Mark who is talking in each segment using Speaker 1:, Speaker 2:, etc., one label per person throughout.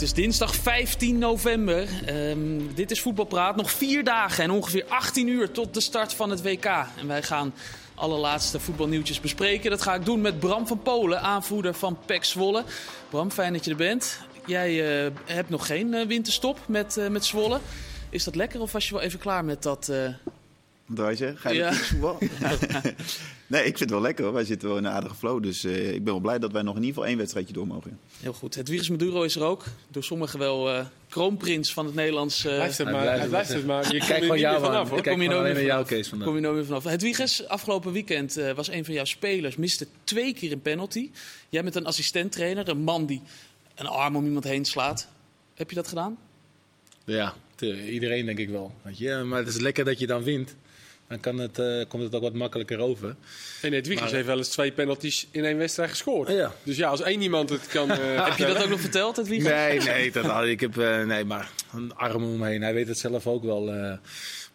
Speaker 1: is dinsdag 15 november. Ehm, dit is Voetbalpraat. Nog vier dagen en ongeveer 18 uur tot de start van het WK. En wij gaan alle laatste voetbalnieuwtjes bespreken. Dat ga ik doen met Bram van Polen, aanvoerder van PEC Zwolle. Bram, fijn dat je er bent. Jij eh, hebt nog geen eh, winterstop met, eh, met Zwolle. Is dat lekker of was je wel even klaar met dat... eh,
Speaker 2: Draai je? Ga je
Speaker 1: Ja.
Speaker 2: naar voetbal? nee, ik vind het wel lekker hoor. Wij zitten wel in een aardige flow. Dus eh, ik ben wel blij dat wij nog in ieder geval één wedstrijdje door mogen.
Speaker 1: Heel goed. Het virus Maduro is er ook. Door sommigen wel eh, kroonprins van het Nederlands... eh,
Speaker 3: Blijf het
Speaker 4: Hij
Speaker 3: maar,
Speaker 4: blijft
Speaker 3: hij
Speaker 4: het
Speaker 3: blijft
Speaker 4: wel
Speaker 3: het maar. Je
Speaker 4: Kijk
Speaker 3: kijkt
Speaker 4: gewoon
Speaker 3: van jou
Speaker 4: jou aan.
Speaker 3: vanaf hoor.
Speaker 4: Ik kijk
Speaker 1: Kom je
Speaker 4: gewoon
Speaker 1: er
Speaker 4: alleen
Speaker 1: weer
Speaker 4: naar jou, Kees. Vandaag.
Speaker 1: Kom je nou weer vanaf. Hedwiges, afgelopen weekend eh, was een van jouw spelers, miste twee keer een penalty. Jij bent een assistenttrainer, een man die een arm om iemand heen slaat. Heb je dat gedaan?
Speaker 4: Ja, te- iedereen denk ik wel. Weet je? Maar het is lekker dat je dan wint. Dan kan het, eh, komt het ook wat makkelijker over.
Speaker 3: En Edwiges
Speaker 4: Maar-
Speaker 3: heeft wel eens twee penalties in één wedstrijd gescoord.
Speaker 4: Ja.
Speaker 3: Dus ja, als één iemand het kan. eh,
Speaker 1: Heb je dat ook nog verteld, Hedwiges?
Speaker 4: Nee, nee, dat, had ik heb, eh, nee, maar een arm omheen. Hij weet het zelf ook wel. eh.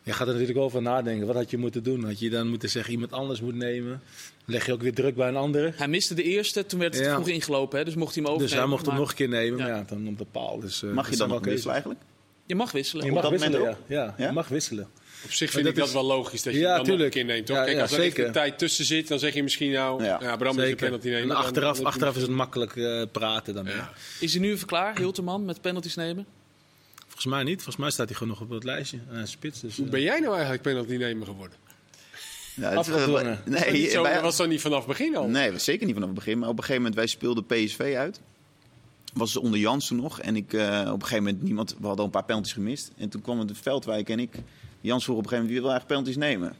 Speaker 4: je gaat er natuurlijk wel van nadenken. Wat had je moeten doen? Had je dan moeten zeggen iemand anders moet nemen? Leg je ook weer druk bij een andere?
Speaker 1: Hij miste de eerste, toen werd het
Speaker 4: Ja.
Speaker 1: vroeg ingelopen, hè, dus mocht hij hem overnemen.
Speaker 4: Dus hij mocht hem
Speaker 1: maar
Speaker 4: nog een keer nemen.
Speaker 1: Ja.
Speaker 4: Maar ja, dan op de paal. Dus, eh,
Speaker 2: Mag
Speaker 4: dat
Speaker 2: je
Speaker 4: zijn
Speaker 2: dan
Speaker 4: wel
Speaker 2: nog
Speaker 4: keuzes.
Speaker 2: wisselen eigenlijk?
Speaker 1: Je mag wisselen.
Speaker 4: Je
Speaker 2: Op
Speaker 4: mag
Speaker 2: dat moment
Speaker 4: wisselen, ja. Ja,
Speaker 2: Ja?
Speaker 4: Je mag wisselen.
Speaker 3: Op zich
Speaker 4: Maar
Speaker 3: vind ik
Speaker 4: dat
Speaker 3: dat
Speaker 4: is-
Speaker 3: wel logisch dat je
Speaker 4: Ja,
Speaker 3: dan nog een
Speaker 4: tuurlijk.
Speaker 3: keer neemt. Toch?
Speaker 4: Ja,
Speaker 3: Kijk,
Speaker 4: ja,
Speaker 3: als er even
Speaker 4: zeker.
Speaker 3: een tijd tussen zit, dan zeg je misschien nou... Ja,
Speaker 2: Ja,
Speaker 3: Bram is een penalty nemen.
Speaker 4: en
Speaker 3: dan-
Speaker 4: achteraf,
Speaker 3: dan-
Speaker 4: achteraf is het makkelijk eh, praten dan.
Speaker 3: Ja.
Speaker 1: Is hij nu even klaar, Hilterman, met penalties nemen?
Speaker 4: Volgens mij niet. Volgens mij staat hij gewoon nog op het lijstje. Eh, spits. Dus, eh,
Speaker 3: Hoe ben jij nou eigenlijk penalty nemen geworden?
Speaker 2: Ja, het-
Speaker 4: Afgedwongen.
Speaker 3: Dat
Speaker 2: nee,
Speaker 3: niet zo-
Speaker 2: wij-
Speaker 3: dat was dan niet vanaf het begin al.
Speaker 2: nee, zeker niet vanaf het begin. Maar op een gegeven moment, wij speelden PSV uit. Was onder Jansen nog. En ik, eh, op een gegeven moment, niemand, we hadden een paar penalties gemist. En toen kwam het Veldwijk en ik. Jans vroeg op een gegeven moment, wie wil eigenlijk penalties nemen?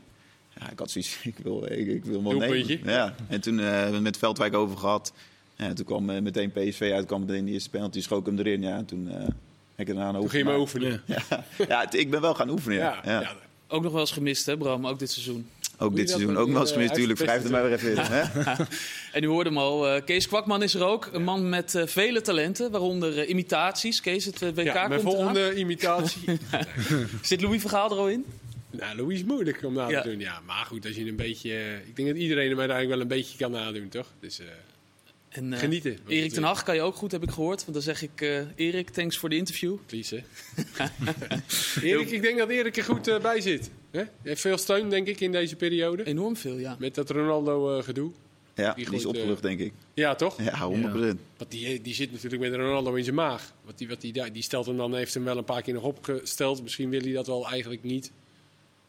Speaker 2: Ja, ik had zoiets, ik wil, ik, ik wil wel
Speaker 3: Doelpuntje.
Speaker 2: nemen. Ja. En toen eh met Veldwijk over gehad. Ja, toen kwam eh, meteen PSV uit, kwam meteen de eerste penalty, schoot ik hem erin. Ja, en toen eh, heb ik het aan
Speaker 3: Toen ging je maar oefenen.
Speaker 4: Ja.
Speaker 2: Ja, ja, t- ik ben wel gaan oefenen. Ja.
Speaker 3: Ja,
Speaker 2: Ja.
Speaker 3: ja.
Speaker 1: Ook nog wel eens gemist, hè Bram, ook dit seizoen.
Speaker 2: Ook
Speaker 3: je
Speaker 2: dit
Speaker 3: dat
Speaker 2: seizoen.
Speaker 3: met
Speaker 2: Ook
Speaker 3: die,
Speaker 2: wel eens
Speaker 3: eh,
Speaker 2: gemist, natuurlijk. Schrijf
Speaker 3: uitspitsen
Speaker 2: het maar weer even in. Hè?
Speaker 1: En u hoorde hem al, eh, Kees Kwakman is er ook. Een man met eh, vele talenten, waaronder eh, imitaties. Kees, het eh, WK
Speaker 3: Ja, mijn
Speaker 1: komt
Speaker 3: volgende imitatie.
Speaker 1: eraan. Zit Louis Vergaal er al in?
Speaker 3: nou, Louis is moeilijk om na te
Speaker 1: Ja.
Speaker 3: doen. Ja, maar goed, als je een beetje... eh, Ik denk dat iedereen hem uiteindelijk wel een beetje kan nadoen, toch? Dus eh,
Speaker 1: En, eh,
Speaker 3: genieten.
Speaker 1: Erik ten Hag kan je ook goed, heb ik gehoord. Want dan zeg ik, eh, Erik, thanks voor de interview.
Speaker 3: Please, hè? Erik, ik denk dat Erik er goed eh, bij zit. hè? Hij heeft veel steun, denk ik, in deze periode.
Speaker 1: Enorm veel, ja.
Speaker 3: Met dat Ronaldo-gedoe.
Speaker 2: Ja, die
Speaker 3: Die
Speaker 2: is
Speaker 3: gooit, eh,
Speaker 2: opgelucht, denk ik.
Speaker 3: ja, toch?
Speaker 2: Ja, 100%.
Speaker 3: Want die, die zit natuurlijk met Ronaldo in zijn maag. Want die, wat die, daar- die stelt hem dan, heeft hem wel een paar keer nog opgesteld. Misschien wil hij dat wel eigenlijk niet.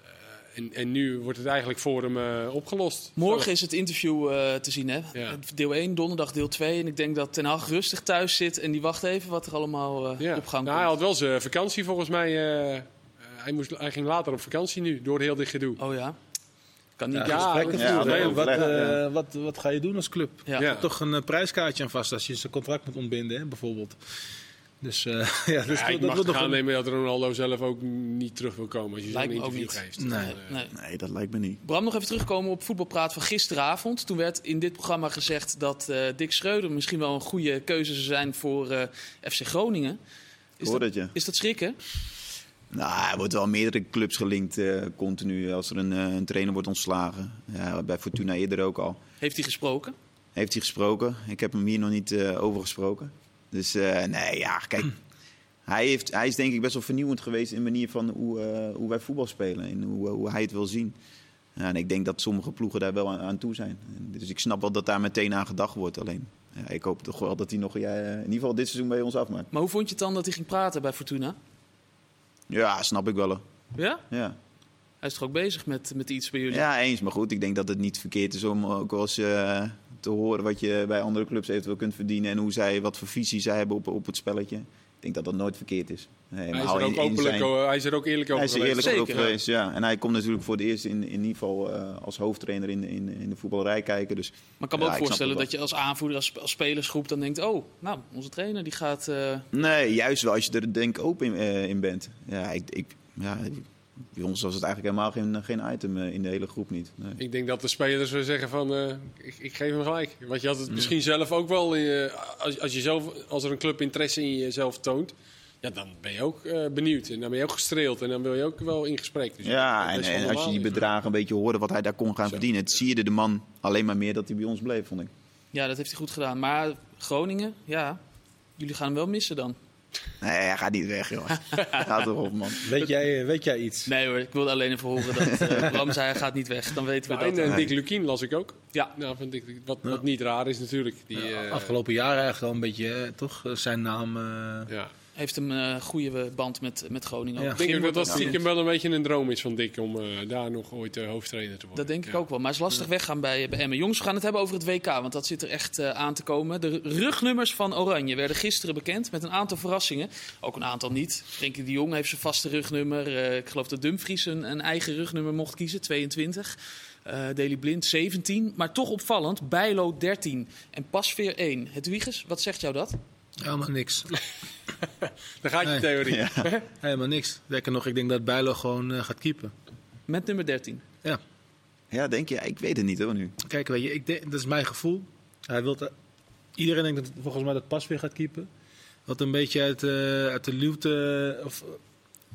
Speaker 3: Eh, en, en nu wordt het eigenlijk voor hem eh, opgelost.
Speaker 1: Morgen is het interview eh, te zien, hè?
Speaker 3: Ja.
Speaker 1: Deel 1, donderdag deel 2. En ik denk dat Ten Hag rustig thuis zit en die wacht even wat er allemaal eh,
Speaker 3: Ja.
Speaker 1: op gang
Speaker 3: nou, hij
Speaker 1: komt.
Speaker 3: had wel zijn vakantie volgens mij. eh, eh, hij, moest, hij ging later op vakantie nu, door heel dit gedoe.
Speaker 1: Oh ja, kan niet. dus.
Speaker 4: Ja,
Speaker 3: Ja,
Speaker 4: gesprekken
Speaker 3: ja,
Speaker 4: voeren.
Speaker 3: ja,
Speaker 4: wat,
Speaker 2: overleg,
Speaker 4: eh,
Speaker 2: ja.
Speaker 4: wat, wat ga je doen als club?
Speaker 1: Ja.
Speaker 4: Er zit toch een eh, prijskaartje aan vast als je zijn contract moet ontbinden, hè, bijvoorbeeld. Dus eh, ja, dus
Speaker 3: ja, ik
Speaker 4: dat- dat
Speaker 3: mag
Speaker 4: wordt nog een-
Speaker 3: aannemen dat Ronaldo zelf ook niet terug wil komen als je zo'n
Speaker 1: Lijkt me ook
Speaker 3: interview
Speaker 1: niet.
Speaker 3: geeft.
Speaker 4: Nee.
Speaker 3: eh,
Speaker 1: Nee.
Speaker 2: Nee, dat lijkt me niet.
Speaker 1: Bram, nog even terugkomen op voetbalpraat van gisteravond. Toen werd in dit programma gezegd dat eh, Dick Schreuder misschien wel een goede keuze zou zijn voor eh, FC Groningen. Is
Speaker 2: Hoor
Speaker 1: dat,
Speaker 2: dat je?
Speaker 1: is dat schrikken?
Speaker 2: Nou, hij wordt wel aan meerdere clubs gelinkt eh, continu als er een, eh, een trainer wordt ontslagen. Ja, bij Fortuna eerder ook al.
Speaker 1: Heeft hij gesproken?
Speaker 2: Heeft hij gesproken. Ik heb hem hier nog niet eh, over gesproken. Dus eh, nee, ja, kijk. Hij, heeft, hij is denk ik best wel vernieuwend geweest in de manier van hoe, eh, hoe wij voetbal spelen. En hoe, eh, hoe hij het wil zien. Ja, en ik denk dat sommige ploegen daar wel aan, aan toe zijn. En Dus ik snap wel dat daar meteen aan gedacht wordt. Alleen, ja, ik hoop toch wel dat hij nog ja, in ieder geval dit seizoen bij ons afmaakt.
Speaker 1: Maar hoe vond je het dan dat hij ging praten bij Fortuna?
Speaker 2: Ja, snap ik wel. hoor.
Speaker 1: Ja?
Speaker 2: Ja.
Speaker 1: Hij is toch ook bezig met, met iets bij jullie?
Speaker 2: ja, eens. Maar goed, ik denk dat het niet verkeerd is om ook wel eens eh, te horen wat je bij andere clubs eventueel kunt verdienen. En hoe zij, wat voor visie zij hebben op, op het spelletje. Ik denk dat dat nooit verkeerd is. Nee,
Speaker 3: hij, is
Speaker 2: al
Speaker 3: er ook
Speaker 2: in- in
Speaker 3: openlijk,
Speaker 2: zijn-
Speaker 3: o- hij is er ook eerlijk over
Speaker 2: Hij is er
Speaker 3: geweest.
Speaker 2: eerlijk over
Speaker 1: Zeker, ja.
Speaker 2: geweest, ja. En hij komt natuurlijk voor het eerst in, in ieder geval eh, als hoofdtrainer in, in, in de voetbalrij kijken. Dus
Speaker 1: Maar ik kan me
Speaker 2: Ja,
Speaker 1: ook
Speaker 2: ik snap
Speaker 1: voorstellen
Speaker 2: het
Speaker 1: dat je als aanvoerder, als, als spelersgroep dan denkt... oh, nou, onze trainer die gaat... eh,
Speaker 2: Nee, juist wel als je er denk ik open in, eh, in bent. Ja, ik, ik, ja, bij ons was het eigenlijk helemaal geen, geen item eh, in de hele groep niet. Nee.
Speaker 3: Ik denk dat de spelers zullen zeggen van, eh, ik, ik geef hem gelijk. Want je had
Speaker 2: Mm.
Speaker 3: het misschien zelf ook wel, eh, als, als, je zelf, als er een club interesse in jezelf toont, ja, dan ben je ook eh, benieuwd en dan ben je ook gestreeld en dan wil je ook wel in gesprek. Dus
Speaker 2: Ja,
Speaker 3: dat
Speaker 2: en,
Speaker 3: is wel
Speaker 2: en als je
Speaker 3: normaal.
Speaker 2: die bedragen een beetje hoorde wat hij daar kon gaan verdienen, het sierde de man alleen maar meer dat hij bij ons bleef, vond ik.
Speaker 1: ja, dat heeft hij goed gedaan. Maar Groningen, ja, jullie gaan hem wel missen dan.
Speaker 2: Nee, hij gaat niet weg, joh. Gaat erop, man.
Speaker 4: Weet jij, eh, weet jij iets?
Speaker 1: Nee hoor, ik wilde alleen even horen dat eh, Bram zei hij gaat niet weg. Dan weten we
Speaker 3: Nou, en
Speaker 1: dat.
Speaker 3: eh,
Speaker 2: Nee.
Speaker 3: Dick Lukien las ik ook.
Speaker 1: Ja.
Speaker 3: Nou, van Dick, wat, wat niet raar is natuurlijk. Die, eh,
Speaker 4: Afgelopen jaar eigenlijk wel een beetje, hè, toch? Eh, Zijn naam. eh,
Speaker 3: Ja.
Speaker 1: Heeft een eh, goede eh, band met, met Groningen.
Speaker 4: Ja.
Speaker 1: Ook.
Speaker 3: Ik denk ook dat dat
Speaker 1: Ja.
Speaker 3: stiekem wel een beetje een droom is van Dick om eh, daar nog ooit eh, hoofdtrainer te worden.
Speaker 1: Dat denk ik
Speaker 3: Ja.
Speaker 1: ook wel. Maar het is lastig weggaan bij, eh, bij Emmen. Jongens, we gaan het hebben over het WK, want dat zit er echt eh, aan te komen. De rugnummers van Oranje werden gisteren bekend met een aantal verrassingen. Ook een aantal niet. Frenkie de Jong heeft zijn vaste rugnummer. Eh, ik geloof dat Dumfries een, een eigen rugnummer mocht kiezen, 22. Eh Deli Blind 17, maar toch opvallend. Bijlo 13 en Pasveer 1. Het Wiegers, wat zegt jou dat?
Speaker 4: Helemaal niks.
Speaker 3: Daar gaat je
Speaker 4: Nee.
Speaker 3: theorie.
Speaker 2: Ja.
Speaker 4: Helemaal niks. Lekker nog, ik denk dat Bijlo gewoon eh, gaat keepen.
Speaker 1: Met nummer 13.
Speaker 4: Ja.
Speaker 2: Ja, denk je? Ik weet het niet, hoor, nu. Nou,
Speaker 4: Kijk, weet je, ik denk, dat is mijn gevoel. Hij wil dat- iedereen denkt dat volgens mij dat Pas weer gaat keepen. Wat een beetje uit, eh, uit de luwte, eh, of eh,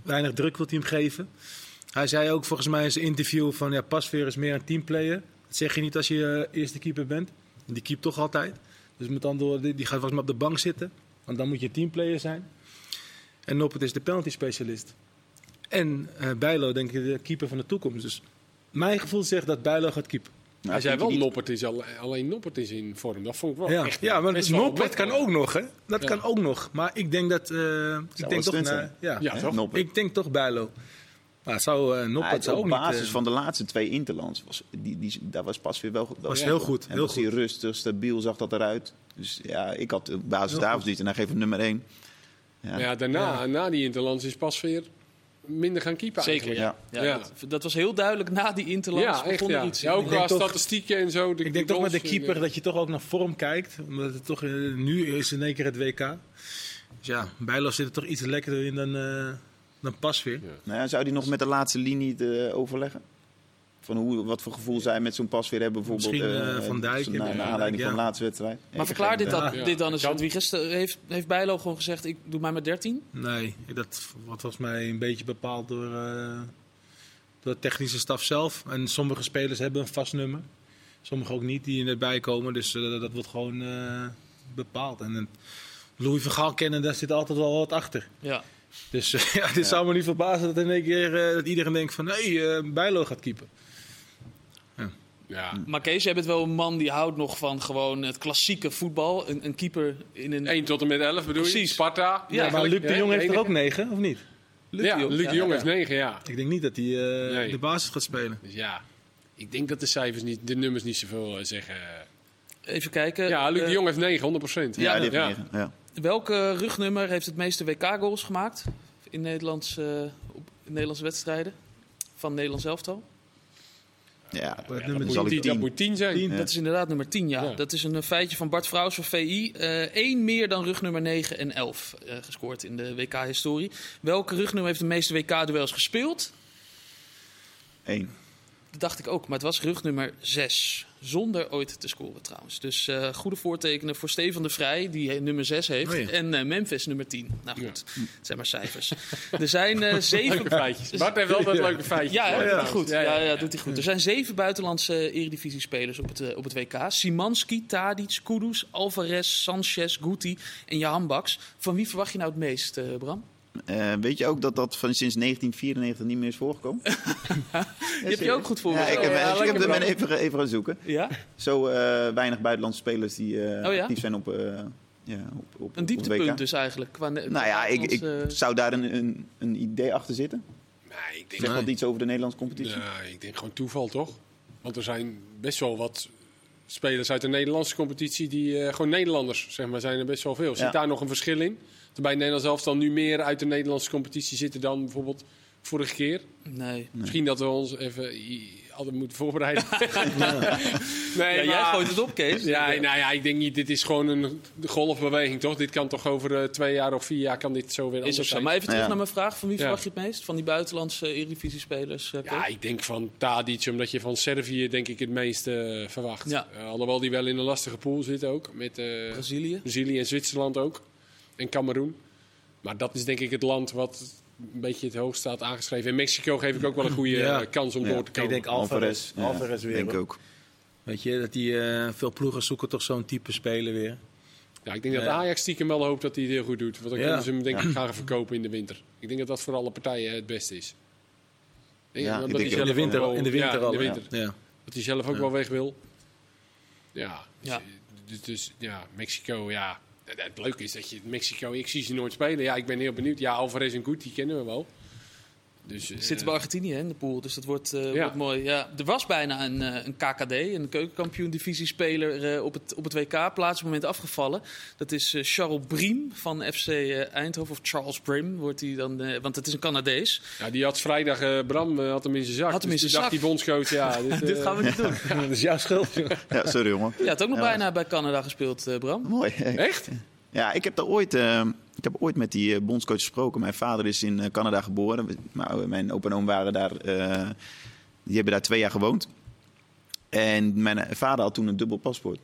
Speaker 4: weinig druk wil hij hem geven. Hij zei ook volgens mij in zijn interview van ja, Pasveer is meer een teamplayer. Dat zeg je niet als je eh, eerste keeper bent. Die keept toch altijd. Dus met andere woorden, die die gaat volgens mij op de bank zitten. Want dan moet je teamplayer zijn. En Noppert is de penalty specialist. En eh, Bijlo denk ik de keeper van de toekomst. Dus mijn gevoel zegt dat Bijlo gaat keepen.
Speaker 2: Nou,
Speaker 3: Hij zei
Speaker 2: vind je
Speaker 3: wel,
Speaker 2: niet-
Speaker 3: Noppert is al, alleen Noppert is in vorm. Dat vond ik wel
Speaker 4: Ja,
Speaker 3: echt
Speaker 4: ja maar
Speaker 3: best wel
Speaker 4: Noppert
Speaker 3: opmerkelijk.
Speaker 4: kan ook nog, hè? Dat
Speaker 3: Ja.
Speaker 4: kan ook nog. Maar ik denk dat. eh, ik,
Speaker 2: wel
Speaker 4: denk toch
Speaker 2: stunt
Speaker 4: naar,
Speaker 2: zijn.
Speaker 4: ja.
Speaker 3: Ja,
Speaker 2: Hè?
Speaker 3: toch?
Speaker 2: Noppen.
Speaker 4: ik denk toch Bijlo. Maar het zou, eh
Speaker 2: Hij
Speaker 4: Noppert
Speaker 2: had
Speaker 4: zou ook
Speaker 2: op
Speaker 4: niet.
Speaker 2: basis
Speaker 4: eh,
Speaker 2: van de laatste twee Interlands, was, die, die, daar was pas weer wel goed.
Speaker 4: Was heel goed,
Speaker 2: En
Speaker 4: heel
Speaker 2: was hij rustig, stabiel, zag dat eruit. Dus ja, ik had op basis
Speaker 4: Heel
Speaker 2: daarvan
Speaker 4: goed.
Speaker 2: niet. En hij geeft hem nummer één. Ja.
Speaker 3: Ja, daarna, na die Interlands is pas weer minder gaan keeper
Speaker 1: Zeker,
Speaker 3: eigenlijk.
Speaker 1: ja. ja.
Speaker 3: Ja.
Speaker 1: Dat, dat was heel duidelijk na die Interlands.
Speaker 3: Ja, echt
Speaker 1: begon er
Speaker 3: ja.
Speaker 1: iets
Speaker 3: Ja,
Speaker 1: in.
Speaker 3: ook
Speaker 4: Ik
Speaker 3: qua
Speaker 4: denk toch-
Speaker 3: statistieken en zo. de-
Speaker 4: ik denk toch met
Speaker 3: goals
Speaker 4: de
Speaker 3: en,
Speaker 4: keeper
Speaker 3: eh,
Speaker 4: dat je toch ook naar vorm kijkt. Omdat het toch, eh, nu is in één keer het WK. Dus ja, Bijlo zit er toch iets lekkerder in dan, eh dan pas weer.
Speaker 2: Nou, ja, zou hij nog met de laatste linie eh, overleggen? Van hoe, wat voor gevoel zij met zo'n pas weer hebben, bijvoorbeeld.
Speaker 4: Misschien,
Speaker 2: eh,
Speaker 4: eh, Van Dijk
Speaker 2: Na,
Speaker 4: en-
Speaker 2: naar aanleiding
Speaker 4: ja.
Speaker 2: van de laatste wedstrijd.
Speaker 1: Maar verklaar dit dan,
Speaker 3: Ja.
Speaker 1: dit dan eens.
Speaker 3: Kan.
Speaker 1: Want wie gisteren heeft, heeft Bijlo gewoon gezegd, ik doe mij maar 13.
Speaker 4: Nee, dat wordt volgens mij een beetje bepaald door, eh, door de technische staf zelf. En sommige spelers hebben een vast nummer. Sommige ook niet, die erbij komen. Dus eh, dat wordt gewoon eh, bepaald. En een Louis Vergaal kennen, daar zit altijd wel wat achter.
Speaker 1: Ja.
Speaker 4: Dus eh, ja, dit zou me niet verbazen dat in één keer eh, dat iedereen denkt van... hé, hey, eh, Bijlo gaat keeper.
Speaker 3: Ja.
Speaker 1: Maar Kees, jij bent wel een man die houdt nog van gewoon het klassieke voetbal. Een, een keeper in een...
Speaker 3: 1 tot en met 11 bedoel je?
Speaker 1: Precies.
Speaker 3: Sparta.
Speaker 1: Ja,
Speaker 4: maar Luc de Jong heeft er
Speaker 3: nee,
Speaker 4: ook negen, of niet?
Speaker 3: nee. Ja, Luc de Jong heeft 9, ja.
Speaker 4: Ik denk niet dat hij eh,
Speaker 3: Nee.
Speaker 4: de basis gaat spelen.
Speaker 3: Dus ja, ik denk dat de cijfers niet, de nummers niet zoveel eh, zeggen.
Speaker 1: Even kijken.
Speaker 3: Ja, Luc
Speaker 1: Eh,
Speaker 3: de Jong heeft 9, 100 procent.
Speaker 2: Ja, die heeft negen, ja.
Speaker 1: Welke rugnummer heeft het meeste WK-goals gemaakt in, Nederlands, eh, op, in Nederlandse wedstrijden? Van Nederlands elftal?
Speaker 2: Ja,
Speaker 4: Maar het
Speaker 2: dan
Speaker 4: nummer
Speaker 2: zal ik
Speaker 3: Die, dat
Speaker 2: tien.
Speaker 3: moet 10 zijn.
Speaker 4: Tien.
Speaker 2: Ja.
Speaker 1: Dat is inderdaad nummer 10, ja.
Speaker 3: Ja.
Speaker 1: Dat is een eh, feitje van Bart Vrouws van VI. Eén meer dan rugnummer 9 en 11 eh, gescoord in de WK-historie. Welke rugnummer heeft de meeste WK-duels gespeeld?
Speaker 2: Eén.
Speaker 1: Dat dacht ik ook, maar het was rugnummer 6. Zonder ooit te scoren trouwens. Dus eh, goede voortekenen voor Steven de Vrij, die eh, nummer 6 heeft.
Speaker 4: Oh ja.
Speaker 1: En eh, Memphis nummer 10. Nou goed, het zijn maar cijfers. er zijn eh zeven...
Speaker 3: Leuke feitjes. Bart heeft altijd leuke feitjes.
Speaker 1: Ja, hè,
Speaker 4: Ja,
Speaker 1: doet hij
Speaker 4: ja.
Speaker 1: goed. Ja,
Speaker 3: Ja, ja,
Speaker 1: ja,
Speaker 3: ja.
Speaker 1: doet hij goed. Er zijn zeven buitenlandse eredivisie-spelers op het, eh, op het WK. Simanski, Tadic, Kudus, Alvarez, Sanchez, Guti en Jahan Baks. Van wie verwacht je nou het meest, eh, Bram?
Speaker 2: Eh, weet je ook dat dat van sinds 1994 niet meer is voorgekomen? Ja,
Speaker 1: Die heb je
Speaker 2: serieus.
Speaker 1: ook goed voor
Speaker 2: Ja,
Speaker 1: me.
Speaker 2: ik heb, eh,
Speaker 3: Ja,
Speaker 2: ik
Speaker 3: lekker,
Speaker 2: heb er ben
Speaker 3: Bram.
Speaker 2: even, even gaan zoeken.
Speaker 1: Ja?
Speaker 2: Zo eh, weinig buitenlandse spelers die eh,
Speaker 1: Oh ja?
Speaker 2: actief zijn op, eh ja, op, op
Speaker 1: Een
Speaker 2: op WK.
Speaker 1: dieptepunt dus eh, eigenlijk. Qua ne-
Speaker 2: Nou ja, ik, ik
Speaker 1: buitenlandse-
Speaker 2: zou daar een, een, een idee achter zitten.
Speaker 3: Nee, ik denk,
Speaker 2: Zeg
Speaker 4: Nee.
Speaker 2: wat iets over de Nederlandse competitie.
Speaker 3: nee, ik denk gewoon toeval, toch? Want er zijn best wel wat spelers uit de Nederlandse competitie die eh, gewoon Nederlanders, zeg maar, zijn er best wel veel. Zit
Speaker 2: Ja.
Speaker 3: daar nog een verschil in? Dat bij Nederland zelf dan nu meer uit de Nederlandse competitie zitten dan bijvoorbeeld vorige keer.
Speaker 1: Nee.
Speaker 3: Misschien dat we ons even i- hadden moeten voorbereiden. nee,
Speaker 1: Ja, jij
Speaker 3: maar-
Speaker 1: gooit het op, Kees.
Speaker 3: Ja, nou ja, ik denk niet. Dit is gewoon een golfbeweging, toch? Dit kan toch over eh, twee jaar of vier jaar kan dit zo weer
Speaker 1: Is ook
Speaker 3: anders
Speaker 1: zo.
Speaker 3: zijn.
Speaker 1: Maar even terug
Speaker 2: Ja.
Speaker 1: naar mijn vraag. Van wie
Speaker 3: Ja.
Speaker 1: verwacht je het meest? Van die buitenlandse Eredivisie-spelers? eh,
Speaker 3: Ja,
Speaker 1: Kees?
Speaker 3: ik denk van Tadic, omdat je van Servië denk ik het meeste eh, verwacht.
Speaker 1: Ja.
Speaker 3: Eh, alhoewel die wel in een lastige pool zit ook, met eh,
Speaker 1: Brazilië?
Speaker 3: Brazilië en Zwitserland ook. En Cameroen. Maar dat is denk ik het land wat een beetje het hoogst staat aangeschreven. En Mexico geef ik ook wel een goede
Speaker 4: Ja.
Speaker 3: eh, kans om
Speaker 2: Ja.
Speaker 3: door te komen.
Speaker 4: Ik denk Alvarez.
Speaker 2: Ja,
Speaker 4: Alvarez weer.
Speaker 2: Denk
Speaker 4: hoor.
Speaker 2: ook.
Speaker 4: Weet je, dat die, eh, veel ploegen zoeken toch zo'n type speler weer.
Speaker 3: Ja, ik denk dat
Speaker 4: Ja.
Speaker 3: Ajax stiekem wel hoopt dat hij het heel goed doet. Want dan
Speaker 4: Ja.
Speaker 3: kunnen ze hem denk ik gaan verkopen in de winter. Ik denk dat dat voor alle partijen het beste is. Denk
Speaker 2: Ja,
Speaker 3: ik,
Speaker 2: ik
Speaker 3: omdat
Speaker 2: denk
Speaker 3: hij
Speaker 2: ook.
Speaker 3: zelf
Speaker 4: In de winter-
Speaker 3: ook wel-
Speaker 4: in de winter
Speaker 3: ja,
Speaker 4: al,
Speaker 3: In de
Speaker 2: ja.
Speaker 3: winter.
Speaker 4: Ja.
Speaker 3: Dat hij zelf ook wel weg wil. Ja. Dus,
Speaker 1: Ja.
Speaker 3: dus, dus, ja, Mexico, ja. Het- Het leuke is dat je Mexico, ik zie ze nooit spelen. Ja, ik ben heel benieuwd. Ja, Alvarez en Goed, die kennen we wel. Dus, eh,
Speaker 1: Zitten bij Argentinië hè, in de pool, dus dat wordt, eh,
Speaker 3: Ja.
Speaker 1: wordt mooi. Ja, er was bijna een, eh, een KKD, een keukenkampioen-divisiespeler eh, op, het, op het WK, plaatsmoment afgevallen. Dat is eh, Charles Briem van FC eh, Eindhoven, of Charles Brim wordt hij dan, eh, want het is een Canadees.
Speaker 3: ja, die had vrijdag, eh, Bram eh, had hem in zijn zak.
Speaker 1: Had hem
Speaker 3: Dus
Speaker 1: in
Speaker 3: die
Speaker 1: zijn
Speaker 3: dacht
Speaker 1: zak.
Speaker 3: die bondscoach, ja. Dit,
Speaker 1: Dit
Speaker 3: eh,
Speaker 1: gaan we niet doen.
Speaker 4: Dat is jouw schuld.
Speaker 2: Ja, sorry jongen.
Speaker 1: Je had ook nog
Speaker 2: Ja.
Speaker 1: bijna bij Canada gespeeld, eh, Bram.
Speaker 2: Mooi.
Speaker 3: Echt?
Speaker 2: Ja, ik heb daar ooit, eh, ik heb ooit met die eh, bondscoach gesproken. Mijn vader is in eh, Canada geboren. We- Maar mijn opa en oom waren daar. eh, die hebben daar twee jaar gewoond. En mijn eh, vader had toen een dubbel paspoort.